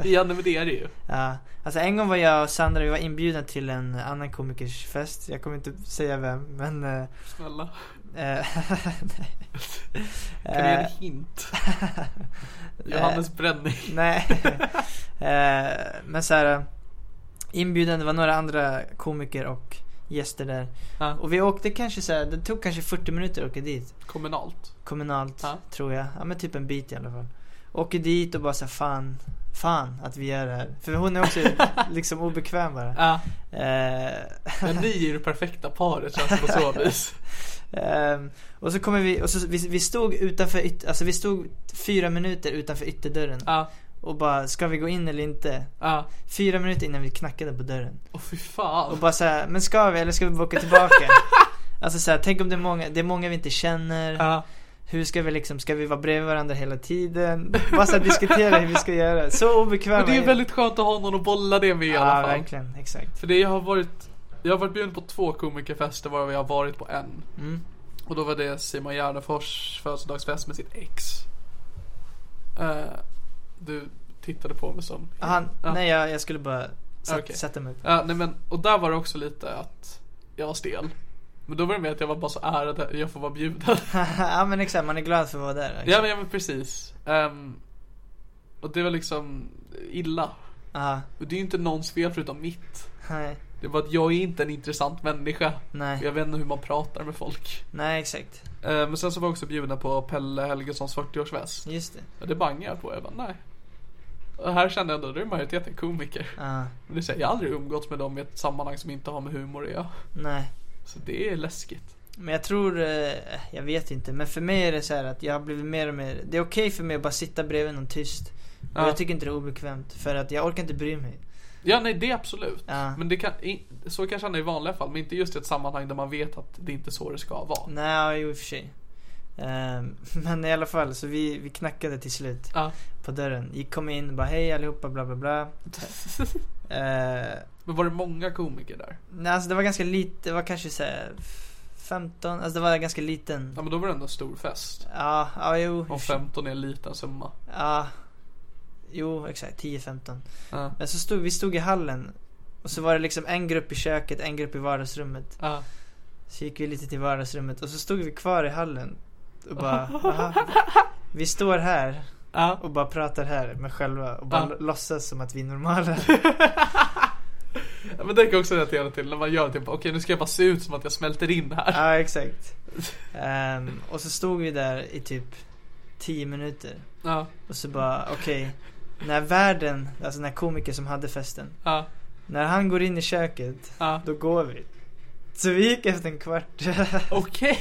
B: ja nej, men det är det ju.
C: Ja, alltså en gång var jag och Sandra, vi var inbjudna till en annan komikers fest. Jag kommer inte säga vem, men... eh,
B: Snälla.
C: eh,
B: Kan du ge en hint?
C: eh.
B: Johannes Bränning.
C: Nej. Eh, men så här. Inbjudan, det var några andra komiker och gäster där.
B: Ja.
C: Och vi åkte kanske så här, det tog kanske 40 minuter att åka dit.
B: Kommunalt.
C: Kommunalt,
B: Ja.
C: tror jag. Ja men typ en bit i alla fall. Åker dit och bara så här, fan, fan att vi gör det här. För hon är också liksom obekväm bara.
B: Ja,
C: Eh,
B: men ni är ju det perfekta paret känns det på så vis.
C: Ehm, och så kommer vi, och så, vi, vi stod utanför, yt, alltså vi stod fyra minuter utanför ytterdörren
B: Ja,
C: och bara, ska vi gå in eller inte?
B: ja.
C: Fyra minuter innan vi knackade på dörren.
B: Åh fy
C: Och
B: fan.
C: bara såhär, men ska vi eller ska vi åka tillbaka? alltså såhär, tänk om det är många, det är många vi inte känner.
B: Ja.
C: Hur ska vi liksom, ska vi vara bredvid varandra hela tiden? Bara såhär diskutera hur vi ska göra. Så obekväma
B: Men det är
C: vi.
B: väldigt skönt att ha någon att bolla det med i alla
C: Ja,
B: fall.
C: verkligen. Exakt.
B: För det jag har varit, jag har varit bjuden på två komikerfester varav jag har varit på en.
C: Mm.
B: Och då var det Simon Gärdenfors födelsedagsfest med sitt ex. Eh, du tittade på mig som...
C: Han,
B: Ja.
C: Nej, jag, jag skulle bara sätta,
B: Okej.
C: sätta mig upp.
B: Ja, nej men, och där var det också lite att jag var stel. Men då var det mer att jag var bara så ärad att jag får vara bjuden.
C: ja, men exakt. Man är glad för att vara där.
B: ja, men, ja men precis. Ehm, och det var liksom illa.
C: Ja,
B: Och det är ju inte någons fel förutom mitt.
C: nej,
B: Det var att jag är inte en intressant människa.
C: nej,
B: Jag vet inte hur man pratar med folk.
C: nej, exakt.
B: Eh, Men sen så var jag också bjudna på Pelle Helgessons 40-årsfest.
C: Just det.
B: Och det bangade jag på. Jag bara, nej. Och här kände jag ändå, då är majoriteten komiker.
C: Ja,
B: Men det säger jag har aldrig umgåtts med dem i ett sammanhang som inte har med humor att göra.
C: nej.
B: Så det är läskigt.
C: Men jag tror, eh, jag vet inte, men för mig är det så här att jag har blivit mer och mer, det är okej för mig att bara sitta bredvid någon tyst. Och
B: Ja.
C: jag tycker inte det är obekvämt, för att jag orkar inte bry mig.
B: Ja, nej det är absolut.
C: Ja.
B: Men det kan, i- så kan jag känna i vanliga fall, men inte just i ett sammanhang där man vet att det inte är så det ska vara.
C: Nej, jo i och för sig. Ehm, men i alla fall, så vi, vi knackade till slut
B: Ja.
C: på dörren. Gick, kom in bara hej allihopa, bla bla bla. Eh,
B: Men var det många komiker där?
C: nej, alltså det var ganska lite, det var kanske såhär 15, alltså det var ganska liten.
B: Ja, men då var det ändå en stor fest.
C: Ja, ja jo. i och
B: Om
C: för sig.
B: 15 är en liten summa.
C: Ja. Jo, exakt. 10-15.
B: Ja.
C: Men så stod vi stod i hallen. Och så var det liksom en grupp i köket, en grupp i vardagsrummet.
B: Ja.
C: Så gick vi lite till vardagsrummet och så stod vi kvar i hallen. Och bara, "Aha, Vi står här
B: Ja.
C: och bara pratar här med själva och bara
B: Ja.
C: låtsas som att vi är normala.
B: Ja, men det kan jag också relatera till när man gör typ, okej nu ska jag bara se ut som att jag smälter in här.
C: ja, exakt. Ehm, och så stod vi där i typ 10 minuter.
B: Ja,
C: Och så bara, okej. När värden, alltså den här komikern som hade festen.
B: ja,
C: När han går in i köket,
B: ja.
C: då går vi. Så vi gick efter en kvart.
B: Okej.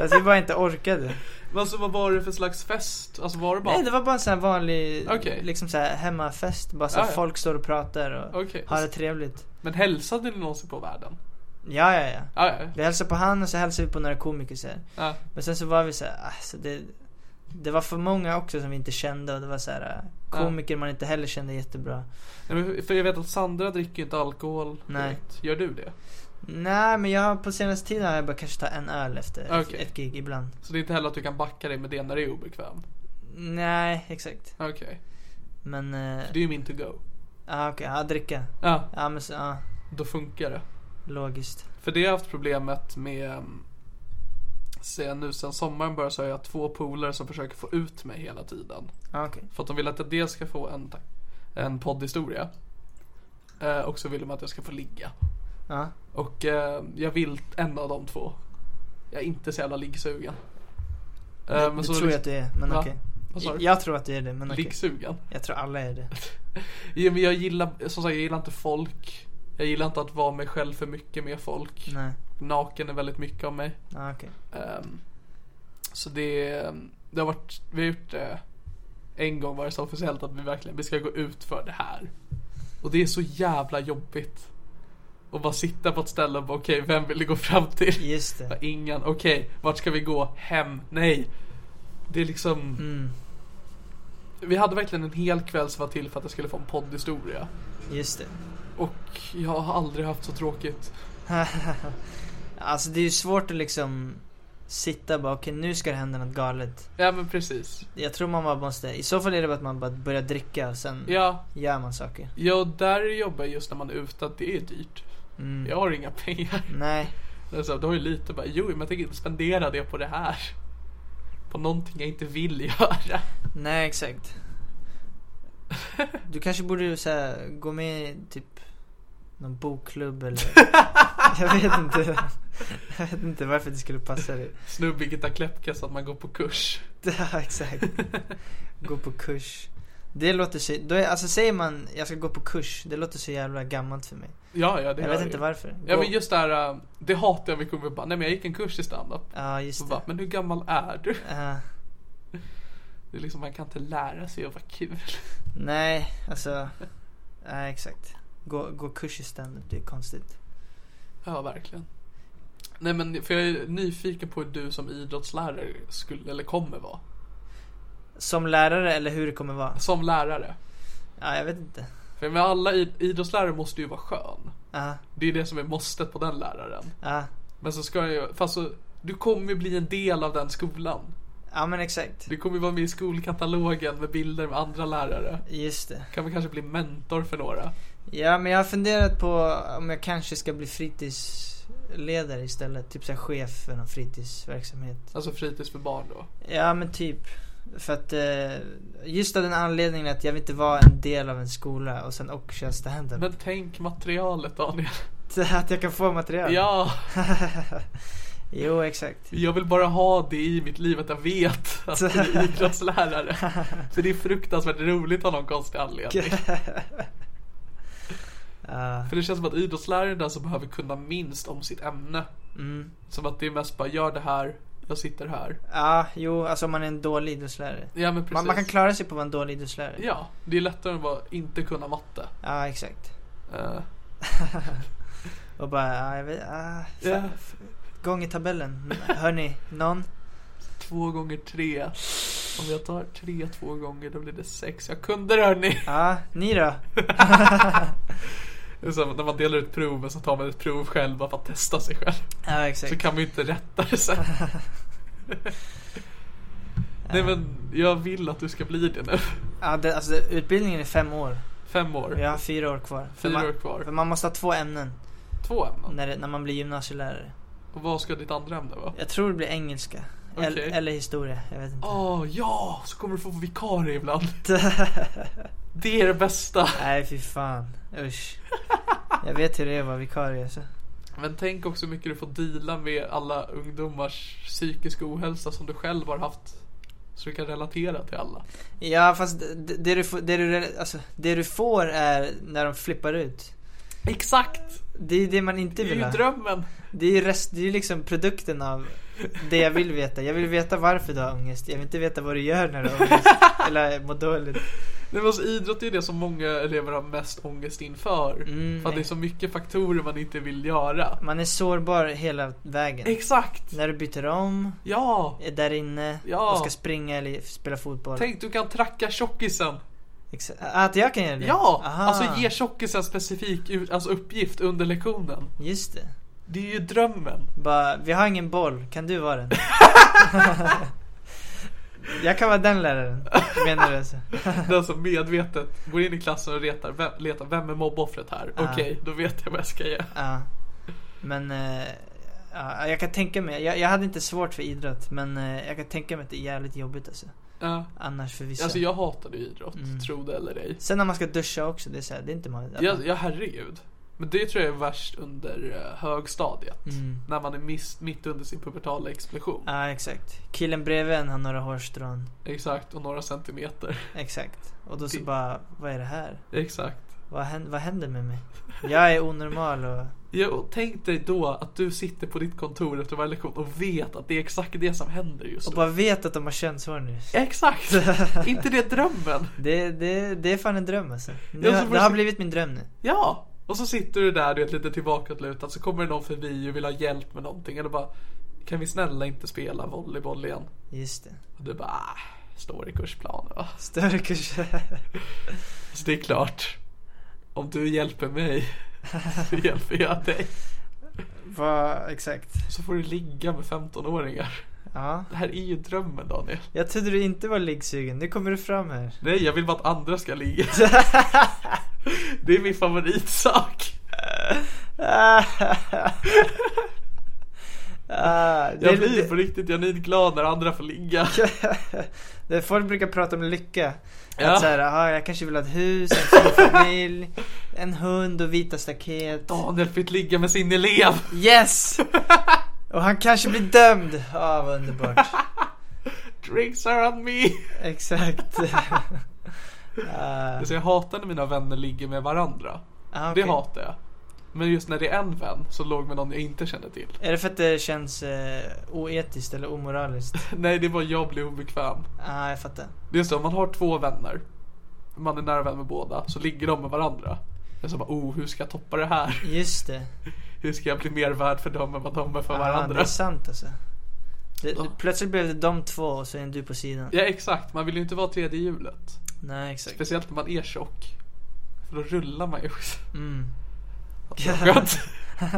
C: alltså vi bara inte orkade.
B: Men alltså vad var det för slags fest? Alltså var det bara...
C: Nej, det var bara en sån här vanlig
B: Okej.
C: liksom så här hemmafest. Bara så här,
B: Ja, ja.
C: folk står och pratar och
B: Okej.
C: har det trevligt.
B: Men hälsade ni någonsin på världen?
C: Ja, ja, ja.
B: Ja, ja,
C: Vi hälsade på han och så hälsade vi på några komiker så här.
B: ja.
C: Men sen så var vi så här, alltså det, det var för många också som vi inte kände och det var så här äh, komiker man inte heller kände jättebra.
B: Nej, men För jag vet att Sandra dricker ju inte alkohol
C: Nej.
B: direkt. Gör du det?
C: Nej, men jag har på senaste tiden har jag bara kanske ta en öl efter
B: Okej.
C: ett, ett gig ibland.
B: Så det är inte heller att du kan backa dig med det när det är obekväm?
C: Nej, exakt.
B: Okej.
C: Men, eh,
B: Det är ju min to go.
C: ah, okej, ja dricka.
B: Ja,
C: Ja men så, ja,
B: då funkar det.
C: logiskt.
B: För det har jag haft problemet med um, Sen nu sen sommaren börjar så har jag två polare som försöker få ut mig hela tiden.
C: Ja, okej.
B: För att de vill att jag dels ska få en, en poddhistoria. Eh, och så vill de att jag ska få ligga.
C: Ja.
B: Och eh, jag vill en av de två. Jag är inte så jävla liggsugen. Eh,
C: Det, det tror jag att du är, men
B: Va?
C: okej.
B: Vad sa du?
C: Jag tror att du är det, men okej.
B: Liggsugen?
C: Jag tror alla är det.
B: Ja, men jag gillar, som sagt, jag gillar inte folk. Jag gillar inte att vara mig själv för mycket med folk.
C: Nej,
B: Naken är väldigt mycket av mig.
C: ja okej.
B: Ehm, så det, det har varit, vi har gjort det en gång var det så officiellt att vi verkligen, vi ska gå ut för det här. Och det är så jävla jobbigt. Och bara sitta på ett ställe och bara okej, vem vill du gå fram till?
C: Just
B: Ja,
C: det.
B: Ingen, okej, vart ska vi gå? Hem? Nej. Det är liksom,
C: Mm,
B: vi hade verkligen en hel kväll som var till för att jag skulle få en poddhistoria.
C: just det.
B: Och jag har aldrig haft så tråkigt.
C: Alltså det är ju svårt att liksom sitta och bara okej nu ska det hända något galet.
B: Ja men precis.
C: Jag tror man bara måste, i så fall är det bara att man bara börjar dricka och sen
B: Ja,
C: gör man saker.
B: ja och där jobbar jag just när man är ute att det är dyrt.
C: Mm.
B: Jag har inga pengar.
C: Nej,
B: Det är så, här, du har ju lite bara, jo men jag tänker inte spendera det på det här. På någonting jag inte vill göra.
C: nej exakt. Du kanske borde så här, gå med i typ någon bokklubb eller Jag vet inte. Jag vet inte varför det skulle passa dig.
B: Snubbig Gitta Kläppka så att man går på kurs.
C: Ja, exakt. Gå på kurs. Det låter så, då är, alltså säger man jag ska gå på kurs, det låter så jävla gammalt för mig.
B: Ja, ja, det
C: jag
B: gör
C: vet
B: det
C: inte
B: ju.
C: varför. Gå,
B: Ja men just det här, äh, det hatar jag med kommer bara, nej men jag gick en kurs i standup.
C: ja, just
B: Och
C: det.
B: bara, men hur gammal är du?
C: Ja.
B: Det är liksom, man kan inte lära sig att vara kul.
C: nej, alltså. Nej, exakt. Gå, gå kurs i standup, det är konstigt.
B: Ja, verkligen. Nej men, för jag är nyfiken på hur du som idrottslärare skulle, eller kommer vara.
C: Som lärare eller hur det kommer vara?
B: Som lärare.
C: Ja, jag vet inte.
B: För med alla id- idrottslärare måste ju vara skön.
C: Ja,
B: Det är det som är måstet på den läraren.
C: ja.
B: Men så ska jag ju, fast så, du kommer ju bli en del av den skolan.
C: ja men exakt.
B: Du kommer ju vara med i skolkatalogen med bilder med andra lärare.
C: Just det.
B: Kan vi kanske bli mentor för några?
C: Ja, men jag har funderat på om jag kanske ska bli fritidsledare istället. Typ så här chef för någon fritidsverksamhet.
B: Alltså fritids för barn då.
C: Ja men typ. För att eh, just av den anledningen att jag vill inte vara en del av en skola och sen och köra standup.
B: Men tänk materialet Daniel.
C: Att jag kan få material.
B: Ja,
C: jo exakt.
B: jag vill bara ha det i mitt liv att jag vet att du är idrottslärare. För det är fruktansvärt roligt av någon konstig anledning.
C: Ja,
B: För det känns som att idrottslärare är den som behöver kunna minst om sitt ämne.
C: mm.
B: Som att det är mest bara, gör det här, jag sitter här.
C: Ja, jo alltså om man är en dålig idrottslärare.
B: Ja men precis.
C: Man, man kan klara sig på att vara en dålig idrottslärare.
B: Ja, det är lättare än att bara inte kunna matte.
C: Ja, exakt.
B: Eh,
C: Och bara, ja, jag vet, ah, fa-
B: Ja.
C: f- gång i tabellen. Hörni, någon?
B: två gånger tre. Om jag tar tre två gånger då blir det sex. Jag kunde det hörni!
C: Ja, ni då?
B: Det är som när man delar ut proven så tar man ett prov själv bara för att testa sig själv.
C: Ja,
B: Så
C: exakt.
B: kan man ju inte rätta det sen. Nej men jag vill att du ska bli det nu.
C: Ja, det, alltså utbildningen är fem år.
B: Fem år.
C: Jag har fyra år kvar. För
B: Fyra
C: man-
B: år kvar.
C: För man måste ha två ämnen
B: Två ämnen.
C: när, det, när man blir gymnasielärare.
B: Och vad ska ditt andra ämne vara?
C: Jag tror det blir engelska. Eller,
B: Okej.
C: eller historia, jag vet inte.
B: Åh Ah, ja! Så kommer du få vara vikarie ibland. Det är det bästa.
C: Nej fy fan, usch. Jag vet hur det är att vara vikarie så.
B: Men tänk också hur mycket du får deala med alla ungdomars psykiska ohälsa som du själv har haft. Så du kan relatera till alla.
C: Ja fast det, det, du, får- det, du, alltså, det du får är när de flippar ut.
B: Exakt!
C: Det är det man
B: Det
C: inte
B: är
C: vill
B: ju
C: ha.
B: drömmen.
C: Det är ju rest, det är ju liksom produkten av det jag vill veta. Jag vill veta varför du har ångest. Jag vill inte veta vad du gör när du har ångest. Eller mår dåligt.
B: Nej, men alltså, idrott är det som många elever har mest ångest inför.
C: Mm,
B: för att det är så mycket faktorer man inte vill göra.
C: Man är sårbar hela vägen.
B: Exakt!
C: När du byter om,
B: Ja!
C: är där inne
B: Ja.
C: och ska springa eller spela fotboll.
B: Tänk du kan tracka tjockisen.
C: Exa- att jag kan göra det?
B: Ja!
C: Aha.
B: Alltså ge tjockisen specifik u- alltså, uppgift under lektionen.
C: Just det.
B: Det är ju drömmen.
C: Bara, vi har ingen boll, kan du vara den? jag kan vara den läraren, menar du alltså?
B: Den som medvetet går in i klassen och retar, vem, letar vem är mobboffret här?
C: Ah.
B: Okej, då vet jag vad jag ska ge.
C: Ja. Men eh, ja, jag kan tänka mig, jag, jag hade inte svårt för idrott men eh, jag kan tänka mig att det är jävligt jobbigt alltså.
B: Ja.
C: Annars för vissa.
B: Alltså jag hatade ju idrott,
C: Mm.
B: tro det eller ej.
C: Sen när man ska duscha också, det är, så här, det är inte man...
B: Ja, ja herregud. Men det tror jag är värst under eh, högstadiet.
C: Mm.
B: När man är miss, mitt under sin pubertala explosion.
C: Ja, exakt. Killen bredvid en har några hårstrån.
B: Exakt, och några centimeter.
C: Exakt. Och då så
B: Det-
C: bara, vad är det här?
B: Exakt.
C: Vad händer, vad händer med mig? Jag är onormal och...
B: Ja, och tänk dig då att du sitter på ditt kontor efter varje lektion och vet att det är exakt det som händer just
C: Och
B: nu.
C: bara vet att de har könshår nu.
B: Exakt! inte det drömmen?
C: Det, det, det är fan en dröm alltså. Nu,
B: Ja, så
C: har- det
B: först-
C: har blivit min dröm nu.
B: Ja! Och så sitter du där, du vet, lite tillbakalutad, så kommer det någon förbi och vill ha hjälp med någonting. Eller bara, kan vi snälla inte spela volleyboll igen?
C: Just det.
B: Och du bara, ah, står i kursplanen va?
C: Större kurs.
B: Så det är klart, om du hjälper mig så hjälper jag dig.
C: Vad, exakt.
B: Så får du ligga med 15-åringar.
C: Ja.
B: Det här är ju drömmen Daniel.
C: Jag trodde du inte var liggsugen. Nu kommer du fram här.
B: Nej, jag vill bara att andra ska ligga. Det är min favoritsak.
C: Ah, det,
B: Jag
C: är
B: blir på
C: lite-
B: riktigt genuint glad när andra får ligga.
C: det, folk brukar prata om lycka.
B: Ja.
C: Att såhär, aha, jag kanske vill ha ett hus, en stor familj, en hund och vita staket.
B: Daniel fick ligga med sin elev.
C: Yes! Och han kanske blir dömd. Ja, vad underbart.
B: Drinks are on me.
C: Ah, Exakt. Eh,
B: Alltså jag hatar när mina vänner ligger med varandra.
C: ah,
B: Det
C: okej.
B: hatar jag. Men just när det är en vän som låg med någon jag inte känner till.
C: Är det för att det känns eh, oetiskt eller omoraliskt?
B: Nej, det är bara jag blir obekväm.
C: ah, jag fattar.
B: Det är så, om man har två vänner. Man är nära vän med båda, så ligger de med varandra. Jag så bara, oh, hur ska jag toppa det här?
C: Just det.
B: Hur ska jag bli mer värd för dem än vad de är för
C: Ah, det
B: varandra?
C: är sant alltså. Det,
B: Ja.
C: Plötsligt blev det de två och så är du på sidan.
B: Ja, exakt. Man vill ju inte vara tredje hjulet.
C: Nej, exakt.
B: Speciellt när man är tjock. För då rullar man ju.
C: Mm.
B: Det är skönt. Nej,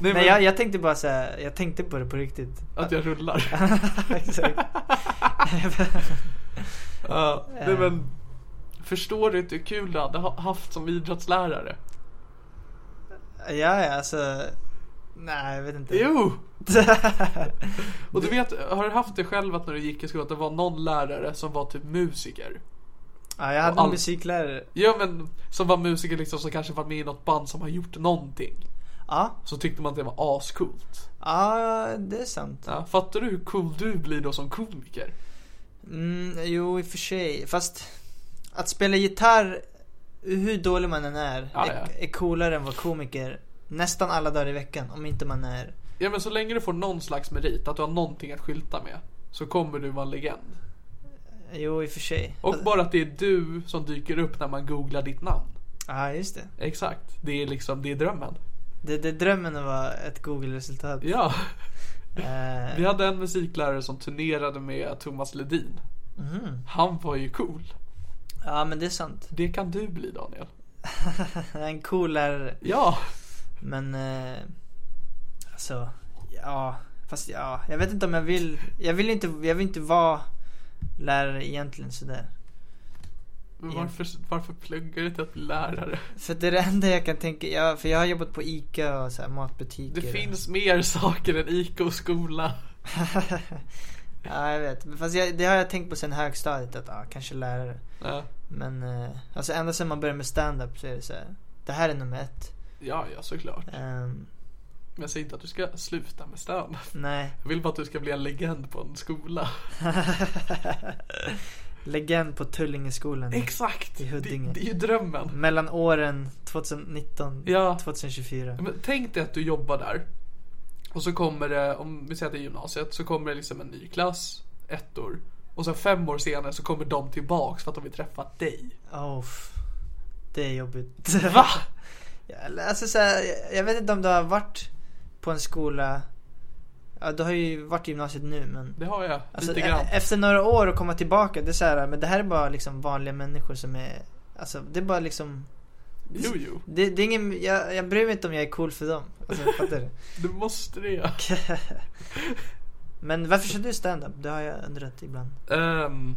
B: men
C: Nej, jag, jag tänkte bara säga, jag tänkte på det på riktigt.
B: att jag rullar.
C: Exakt.
B: Ja, nej
C: Eh.
B: men. Förstår du inte hur kul du hade ha- haft som idrottslärare?
C: ja, ja, alltså. Nej, jag vet inte.
B: Jo! Och du vet, har du haft det själv att när du gick i skolan, att det var någon lärare som var typ musiker?
C: ja, jag
B: Och
C: hade
B: all-
C: en musiklärare.
B: Ja men, som var musiker liksom som kanske var med i något band som har gjort någonting.
C: Ja,
B: Så tyckte man att det var ascoolt.
C: ja, det är sant.
B: Ja, fattar du hur cool du blir då som komiker?
C: Mm, jo, i och för sig. Fast att spela gitarr, hur dålig man än är,
B: Ja,
C: är,
B: ja.
C: är coolare än vad komiker nästan alla dagar i veckan. Om inte man är...
B: Ja men så länge du får någon slags merit, att du har någonting att skylta med. Så kommer du vara en legend.
C: Jo, i och för sig.
B: Och bara att det är du som dyker upp när man googlar ditt namn.
C: Ja, just det.
B: Exakt. Det är liksom, det är drömmen.
C: Det, det är drömmen att vara ett Google-resultat.
B: Ja.
C: Eh,
B: Vi hade en musiklärare som turnerade med Thomas Ledin. Han var ju cool.
C: mhm. ja, men det är sant.
B: Det kan du bli Daniel.
C: En cool lärare.
B: Ja.
C: Men eh, alltså, ja, fast ja, jag vet inte om jag vill, jag vill inte, jag vill inte vara lärare egentligen sådär.
B: Men
C: Ja.
B: varför, varför pluggar du till att bli lärare?
C: För det är det enda jag kan tänka, ja, för jag har jobbat på ICA och så här matbutiker.
B: Det
C: och-
B: finns mer saker än ICA och skola.
C: ja, jag vet. Men Fast jag, det har jag tänkt på sen högstadiet att, ja, kanske lärare.
B: Ja,
C: Men eh, alltså ända sedan man började med stand-up så är det så här, det här är nummer ett.
B: ja, ja, såklart.
C: Ehm,
B: Men jag säger inte att du ska sluta med stand.
C: nej.
B: Jag vill bara att du ska bli en legend på en skola.
C: Legend på Tullingeskolan.
B: Exakt!
C: I
B: Det,
C: Huddinge. Mm.
B: det är ju drömmen.
C: Mellan åren 2019
B: Ja.
C: 2024.
B: Men tänk dig att du jobbar där. Och så kommer det, om vi säger att det är gymnasiet, så kommer det liksom en ny klass, ettor. Och sen fem år senare så kommer de tillbaks för att de vill träffa dig.
C: Oh, f- det är jobbigt.
B: Va?
C: Ja, eller, alltså, så här, jag- jag vet inte om du har varit på en skola. Ja, du har ju varit i gymnasiet nu men.
B: Det har jag,
C: Alltså,
B: lite grann.
C: e- efter några år och komma tillbaka. Det är så här, men det här är bara liksom vanliga människor som är. Alltså det är bara liksom.
B: Jo, jo.
C: Det, det är ingen, jag, jag bryr mig inte om jag är cool för dem. Alltså, fattar
B: Du
C: du?
B: måste det.
C: Men varför kör du stand-up? Det har jag undrat ibland.
B: Ehm,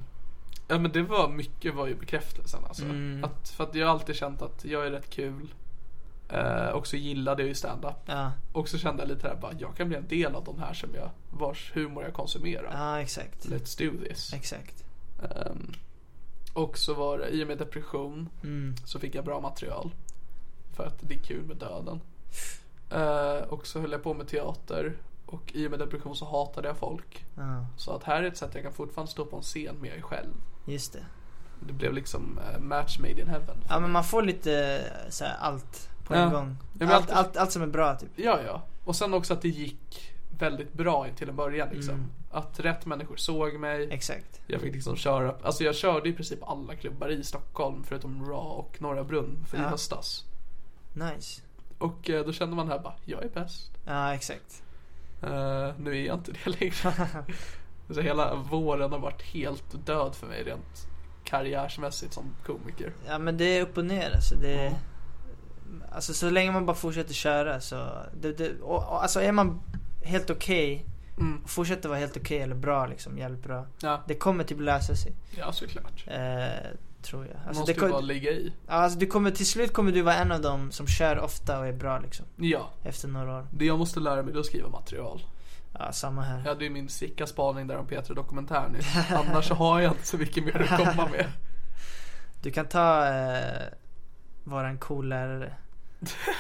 B: ja men det var mycket var ju bekräftelsen alltså.
C: Mm.
B: Att, för att jag har alltid känt att jag är rätt kul. Eh, och så gillade jag ju stand-up.
C: Ja,
B: Och så kände jag lite där bara, jag kan bli en del av de här som jag, vars humor jag konsumerar.
C: ja exakt.
B: Let's do this.
C: Exakt.
B: Ehm, och så var det, i och med depression
C: Mm.
B: så fick jag bra material. För att det är kul med döden. Eh, och så höll jag på med teater. Och i och med depression så hatade jag folk.
C: Ja,
B: Så att här är ett sätt jag kan fortfarande stå på en scen med mig själv.
C: just det.
B: Det blev liksom eh, match made in heaven.
C: Ja men man får lite så här, allt på
B: Ja.
C: en gång.
B: men
C: allt,
B: alltid-
C: allt, allt som är bra typ.
B: Ja, ja. Och sen också att det gick väldigt bra till en början liksom.
C: Mm.
B: Att rätt människor såg mig.
C: Exakt.
B: Jag fick liksom köra, alltså jag körde i princip alla klubbar i Stockholm förutom Raw och Norra Brunn för i
C: Ja.
B: höstas.
C: Nice.
B: Och eh, då kände man här bara, jag är bäst.
C: Ja exakt.
B: Eh, nu är jag inte det längre. Så hela våren har varit helt död för mig rent karriärsmässigt som komiker.
C: Ja men det är upp och ner alltså. Det
B: Ja.
C: Alltså så länge man bara fortsätter köra så. Det, det, och, och, alltså är man helt okej.
B: Mm.
C: fortsätter vara helt okej eller bra liksom. Jävligt bra.
B: Ja,
C: Det kommer typ lösa sig.
B: ja såklart.
C: Eh, tror jag.
B: Man
C: Alltså,
B: måste
C: det,
B: ju
C: kom-
B: bara ligga i.
C: ja, alltså du kommer, till slut kommer du vara en av dem som kör ofta och är bra liksom.
B: Ja,
C: Efter några år.
B: det jag måste lära mig det är att skriva material.
C: Ja samma här.
B: Jag hade ju min sicka spaning där om Peter dokumentär nu. Annars så har jag inte så mycket mer att komma med.
C: Du kan ta eh, vara en cool lärare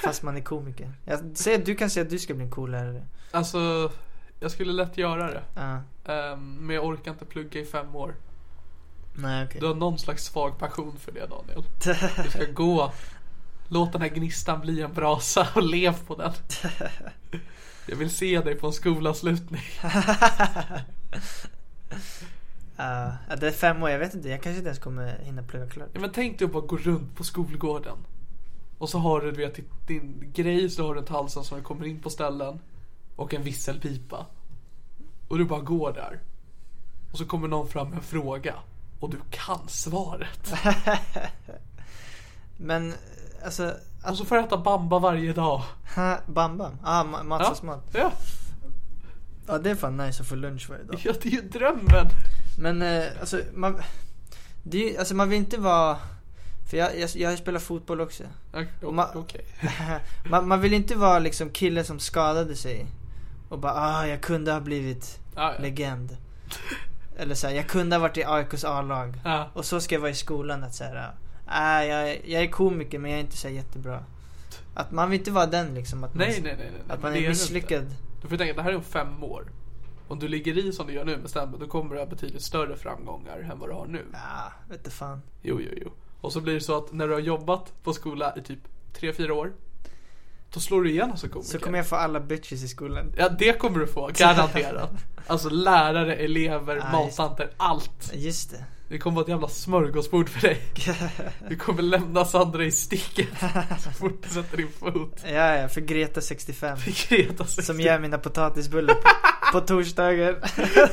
C: fast man är komiker. Jag säger, du kan säga att du ska bli en cool lärare.
B: Alltså, jag skulle lätt göra det.
C: Ja.
B: Ehm, men jag orkar inte plugga i fem år.
C: Nej okej.
B: Du har någon slags svag passion för det Daniel. Du ska gå, låt den här gnistan bli en brasa och lev på den. Jag vill se dig på en skolavslutning.
C: Ja, ja, det är fem år, jag vet inte. Jag kanske inte ens kommer hinna plugga klart.
B: Ja, men tänk dig att bara gå runt på skolgården. Och så har du du vet, ditt- din grej så har du runt halsen som kommer in på ställen. Och en visselpipa. Och du bara går där. Och så kommer någon fram med en fråga. Och du kan svaret.
C: Men, alltså,
B: Och så får du äta bamba varje dag.
C: ha, bam bam. Ah, ma-
B: Ja,
C: matchasmat. Ja.
B: ja,
C: ja, det är fan nice att få lunch varje dag.
B: ja det är ju drömmen.
C: Men eh, alltså, man, det är, ju- alltså man vill inte vara... För jag, jag, jag spelar fotboll också.
B: Okej.
C: Ma-
B: okej.
C: man, man vill inte vara liksom killen som skadade sig och bara ah, jag kunde ha blivit
B: Ja, ja.
C: legend. Eller så här, jag kunde ha varit i AIKs A-lag.
B: Ja.
C: Och så ska jag vara i skolan att säga ah, jag, jag är komiker men jag är inte så här jättebra. Att man vill inte vara den liksom. Att man,
B: Nej, nej, nej. nej.
C: Att
B: men det
C: man är
B: du inte.
C: misslyckad.
B: Du får tänka att det här är om fem år. Om du ligger i som du gör nu med stand-up, då kommer du ha betydligt större framgångar än vad du har nu.
C: Ah, vet du fan.
B: Jo, jo, jo. Och så blir det så att när du har jobbat på skola i typ 3-4 år, då slår du igenom som komiker.
C: Så kommer jag få alla bitches i skolan.
B: Ja, det kommer du få, garanterat. Alltså lärare, elever,
C: Ah, just-
B: mattanter, allt.
C: Just det.
B: Det kommer vara ett jävla smörgåsbord för dig. Du kommer lämna Sandra i sticket så fort du sätter din fot.
C: Ja, ja, för Greta 65.
B: Greta
C: Som
B: 60.
C: gör mina potatisbullar på, på torsdagar.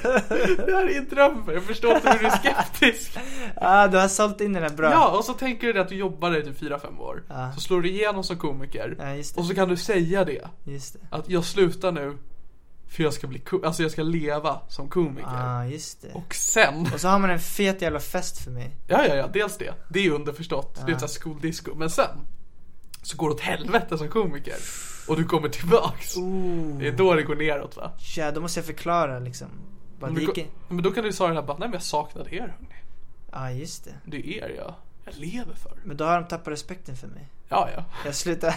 B: Det här är en dröm, jag förstår inte hur du är skeptisk.
C: ah, du har sålt in den här bra.
B: Ja, och så tänker du dig att du jobbar där i typ 4-5 år.
C: Ja.
B: Så slår du igenom som komiker.
C: Ja, just det.
B: Och så kan du säga det.
C: Just det.
B: Att jag slutar nu för jag ska bli ko- alltså jag ska leva som komiker.
C: Ah, just det.
B: Och sen,
C: Och så har man en fet jävla fest för mig.
B: ja ja ja, dels det. Det är ju underförstått.
C: Ah.
B: Det är ett sånt här skoldisco. Men sen, så går det åt helvete som komiker. Och du kommer tillbaks. Det är då det går neråt va.
C: Ja, då måste jag förklara liksom. Bara,
B: Men,
C: det
B: du,
C: gick...
B: ko- men då kan du ju säga det här bara, nej men jag saknade er hörni.
C: Ja, just det.
B: Det är er jag, jag lever för.
C: Men då har de tappat respekten för mig.
B: Ja ja.
C: Jag slutar.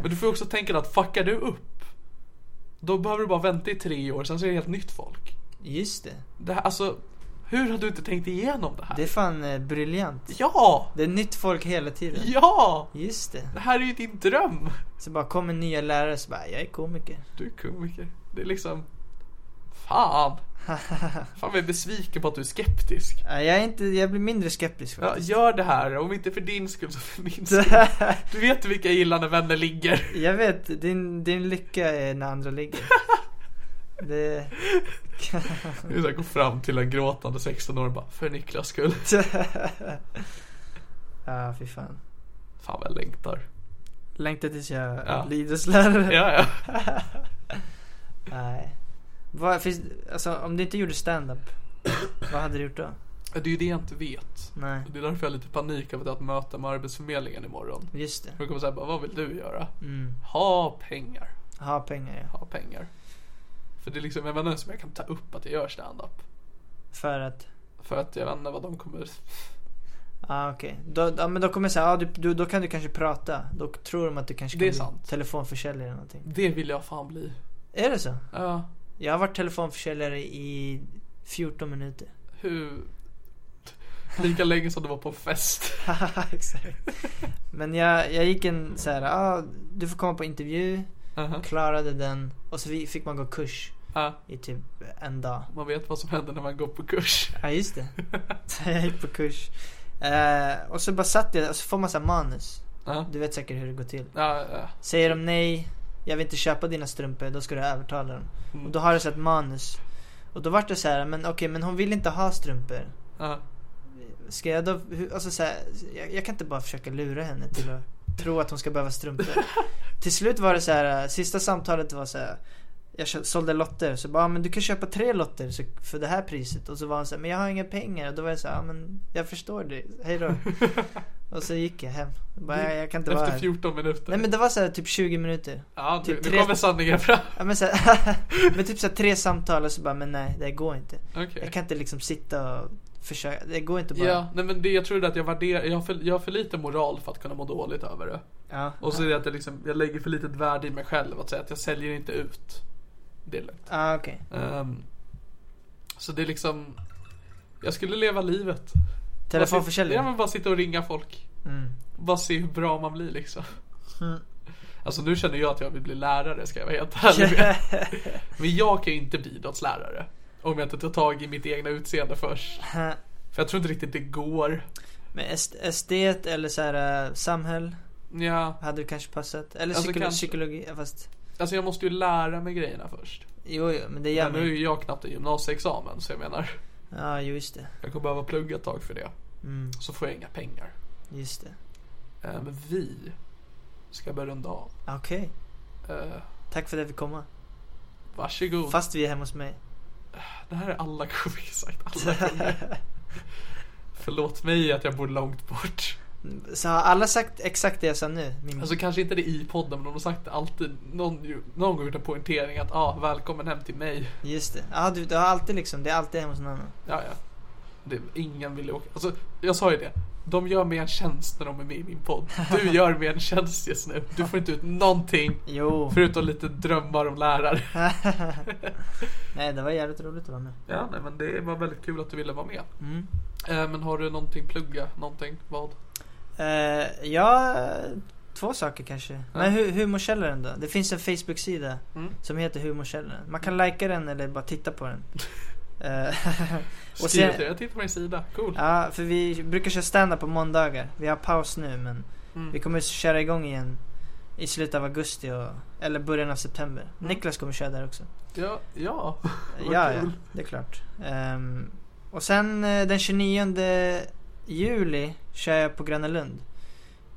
B: Men du får ju också tänka dig att fuckar du upp, då behöver du bara vänta i tre år, sen så är det helt nytt folk.
C: just det.
B: Det här, alltså, hur har du inte tänkt igenom det här?
C: Det är fan eh, briljant.
B: Ja!
C: Det är nytt folk hela tiden.
B: Ja!
C: Just det.
B: Det här är ju din dröm!
C: Så bara kommer nya lärare så bara, jag är komiker.
B: Du är komiker. Det är liksom... Fan! Fan vad jag är besviken på att du är skeptisk.
C: Ja, jag, är inte, jag blir mindre skeptisk
B: Ja,
C: faktiskt.
B: gör det här, om inte för din skull så för min skull. Du vet vilka gillande vänner ligger.
C: jag vet, din, din lycka är när andra ligger. det...
B: Du så här, går fram till en gråtande 16-åring och bara, för Niklas skull.
C: Ja, fy fan.
B: Fan vad jag längtar.
C: Längtar tills jag
B: Ja.
C: blir idrottslärare.
B: Ja, ja.
C: Nej. Vad, finns, alltså, om du inte gjorde stand-up, vad hade du gjort då?
B: Det är ju det jag inte vet.
C: Nej,
B: Det är därför jag har lite panik över att jag har ett möte med Arbetsförmedlingen imorgon.
C: just det.
B: De kommer säga bara, vad vill du göra?
C: Mm.
B: Ha pengar,
C: Ha pengar ja.
B: ha pengar. För det är liksom, jag vet inte ens om jag kan ta upp att jag gör stand-up.
C: För att,
B: För att jag vet inte vad de kommer...
C: ja ah, okej. Då, ja, men då kommer jag säga, ah, du, du, då kan du kanske prata. Då tror de att du kanske kan
B: Det är
C: bli
B: sant.
C: telefonförsäljare eller någonting.
B: Det vill jag fan bli.
C: Är det så?
B: Ja,
C: Jag har varit telefonförsäljare i 14 minuter.
B: hur... Lika länge som du var på fest.
C: Haha, Exakt. Men jag, jag gick en så här, ah, du får komma på intervju,
B: Aha.
C: klarade den och så vi- fick man gå kurs
B: Ja,
C: i typ en dag.
B: man vet vad som händer när man går på kurs.
C: Ja just det. Så jag gick på kurs. Eh, och så bara satt jag och så får man så här manus.
B: Ja,
C: Du vet säkert hur det går till.
B: ja, ja.
C: Säger de nej, jag vill inte köpa dina strumpor, då ska du övertala dem. Och då har du så här ett manus. Och då vart det så här, men okej men hon vill inte ha strumpor.
B: ja.
C: Ska jag då, hur, alltså så här, jag, jag kan inte bara försöka lura henne till att tro att hon ska behöva strumpor. till slut var det så här, eh, sista samtalet var så här. Jag kö- sålde lotter, så bara, "Ah, men du kan köpa tre lotter så, för det här priset. Och så var hon så här, men jag har inga pengar. Och då var jag så här, "Ah, men jag förstår dig, hej då. och så gick jag hem. Jag Bara, jag, jag kan inte vara
B: Efter
C: här.
B: 14 minuter.
C: Nej men det var så här typ 20 minuter.
B: ja, nu,
C: typ
B: nu
C: tre-
B: kommer sanningen fram.
C: Ja, men, så här, men typ så här, tre samtal och så bara, men nej det här går inte.
B: Okej.
C: Jag kan inte liksom sitta och försöka, det går inte bara.
B: Ja, nej men det, jag tror det är att jag värderar, jag har, för, jag har för lite moral för att kunna må dåligt över det.
C: Ja.
B: Och så är det att jag, liksom, jag lägger för litet värde i mig själv att säga att jag säljer inte ut. Det är lugnt.
C: Ah, okej.
B: Ehm, så det är liksom, Jag skulle leva livet.
C: Telefonförsäljning.
B: Ja men bara sitta och ringa folk.
C: Mm.
B: Bara se hur bra man blir liksom.
C: Mm.
B: Alltså nu känner jag att jag vill bli lärare ska jag vara helt ärlig med. Men jag kan ju inte bli idrottslärare. Om jag inte tar tag i mitt egna utseende först. För jag tror inte riktigt det går.
C: Men est- estet eller så här eh, samhäll
B: Ja,
C: hade du kanske passat. Eller
B: Alltså,
C: psykolo-
B: kanske.
C: psykologi, ja, fast
B: alltså jag måste ju lära mig grejerna först.
C: jo, jo men det
B: Ja,
C: gör
B: nu är
C: man
B: ju jag knappt en gymnasieexamen så jag menar.
C: Ja, jo, just det.
B: Jag kommer behöva plugga ett tag för det.
C: Mm,
B: Så får jag inga pengar.
C: just det.
B: Eh, Men vi ska börja runda av.
C: Okej,
B: Eh,
C: tack för att vi fick komma.
B: Varsågod.
C: Fast vi är hemma hos mig.
B: Det här är alla komiker sagt. Alla komiker. Förlåt mig att jag bor långt bort.
C: Så har alla sagt exakt det jag sa nu? Min...
B: Alltså kanske inte det i podden men de har sagt det alltid. Någon, ju- någon gång gjort en poängtering att ah, välkommen hem till mig.
C: Just det. Ja, du, du har alltid liksom, det är alltid hemma hos någon annan.
B: Ja, ja. Det, ingen vill åka. Alltså, jag sa ju det. De gör mig en tjänst när de är med i min podd. Du gör mig en tjänst just nu. Du får inte ut någonting.
C: Jo.
B: Förutom lite drömmar om lärare.
C: Nej, det var jävligt roligt att vara med.
B: Ja, nej, men det var väldigt kul att du ville vara med.
C: Mm.
B: Eh, men har du någonting plugga? Någonting? Vad?
C: Eh, ja, två saker kanske. Men hu- Humorkällaren då? Det finns en Facebook-sida
B: Mm.
C: som heter Humorkällaren. Man kan likea den eller bara titta på den. Eh,
B: Skriv
C: sen-
B: till Jag tittar på din sida. Cool.
C: ja, för vi brukar köra stand-up på måndagar. Vi har paus nu men
B: Mm.
C: vi kommer köra igång igen i slutet av augusti och, eller början av september. Niklas kommer köra där också.
B: Ja, ja. Vad
C: Ja, ja,
B: kul.
C: det är klart. Ehm, och sen eh, den 29 juli kör jag på Gröna Lund.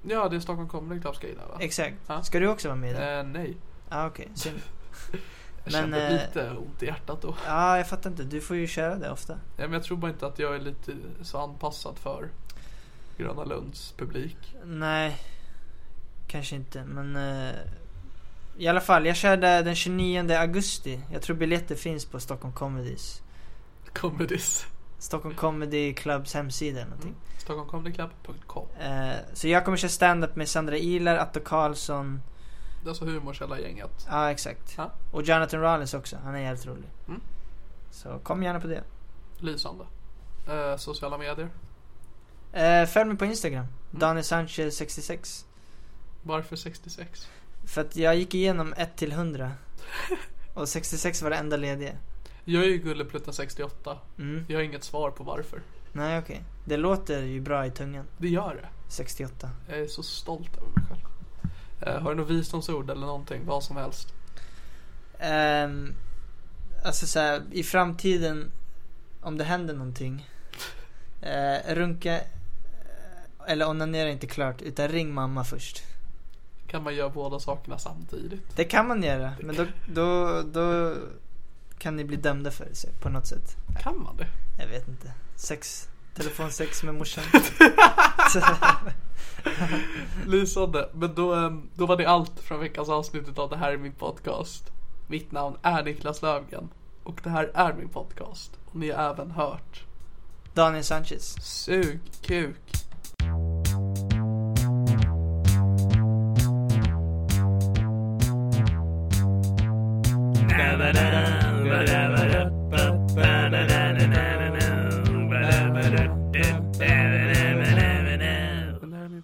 B: ja, det är Stockholm Comedy Clubs grej där va?
C: Exakt.
B: Ja.
C: Ska du också vara med i det?
B: Eh, nej,
C: Ja, okej. Synd.
B: jag
C: Men,
B: kände
C: eh,
B: lite ont i hjärtat då.
C: Ja, jag fattar inte. Du får ju köra det ofta.
B: Nej, men jag tror bara inte att jag är lite så anpassad för Gröna Lunds publik.
C: Nej, kanske inte. Men eh, i alla fall, jag kör där den 29 augusti. Jag tror biljetter finns på Stockholm Comedies.
B: Comedies.
C: Stockholm Comedy Clubs hemsida eller någonting.
B: Mm. Stockholmcomedyclub.com
C: Eh, så jag kommer köra stand-up med Sandra Ilar, Atto Karlsson.
B: Det är alltså humorkälla-gänget.
C: Ja, exakt.
B: Ja.
C: Och Jonathan Rollins också. Han är jävligt rolig.
B: Mm.
C: Så kom gärna på det.
B: Lysande. Eh, sociala medier.
C: Eh, följ mig på Instagram.
B: Mm.
C: Daniel Sanchez 66.
B: Varför 66?
C: För att jag gick igenom 1 till 100. Och 66 var det enda lediga.
B: Jag är ju Gulleplutta 68.
C: Mm.
B: Jag har inget svar på varför.
C: Nej, okej. Det låter ju bra i tungan.
B: Det gör det.
C: 68.
B: Jag är så stolt över mig själv. Eh, har du något visdomsord eller någonting? Vad som helst.
C: Ehm, alltså så här, i framtiden, om det händer någonting. Eh, runka eh, eller onanera inte klart, utan ring mamma först.
B: Kan man göra båda sakerna samtidigt?
C: Det kan man göra, men då, då, då kan ni bli dömda för det på något sätt.
B: Kan man det?
C: Jag vet inte. Sex. Telefonsex med morsan.
B: Lysande. Men då, ehm, då var det allt från veckans avsnitt av Det här är min podcast. Mitt namn är Niklas Löfgren och det här är min podcast. Och ni har även hört
C: Daniel Sanchez.
B: Sug kuk. Det här är min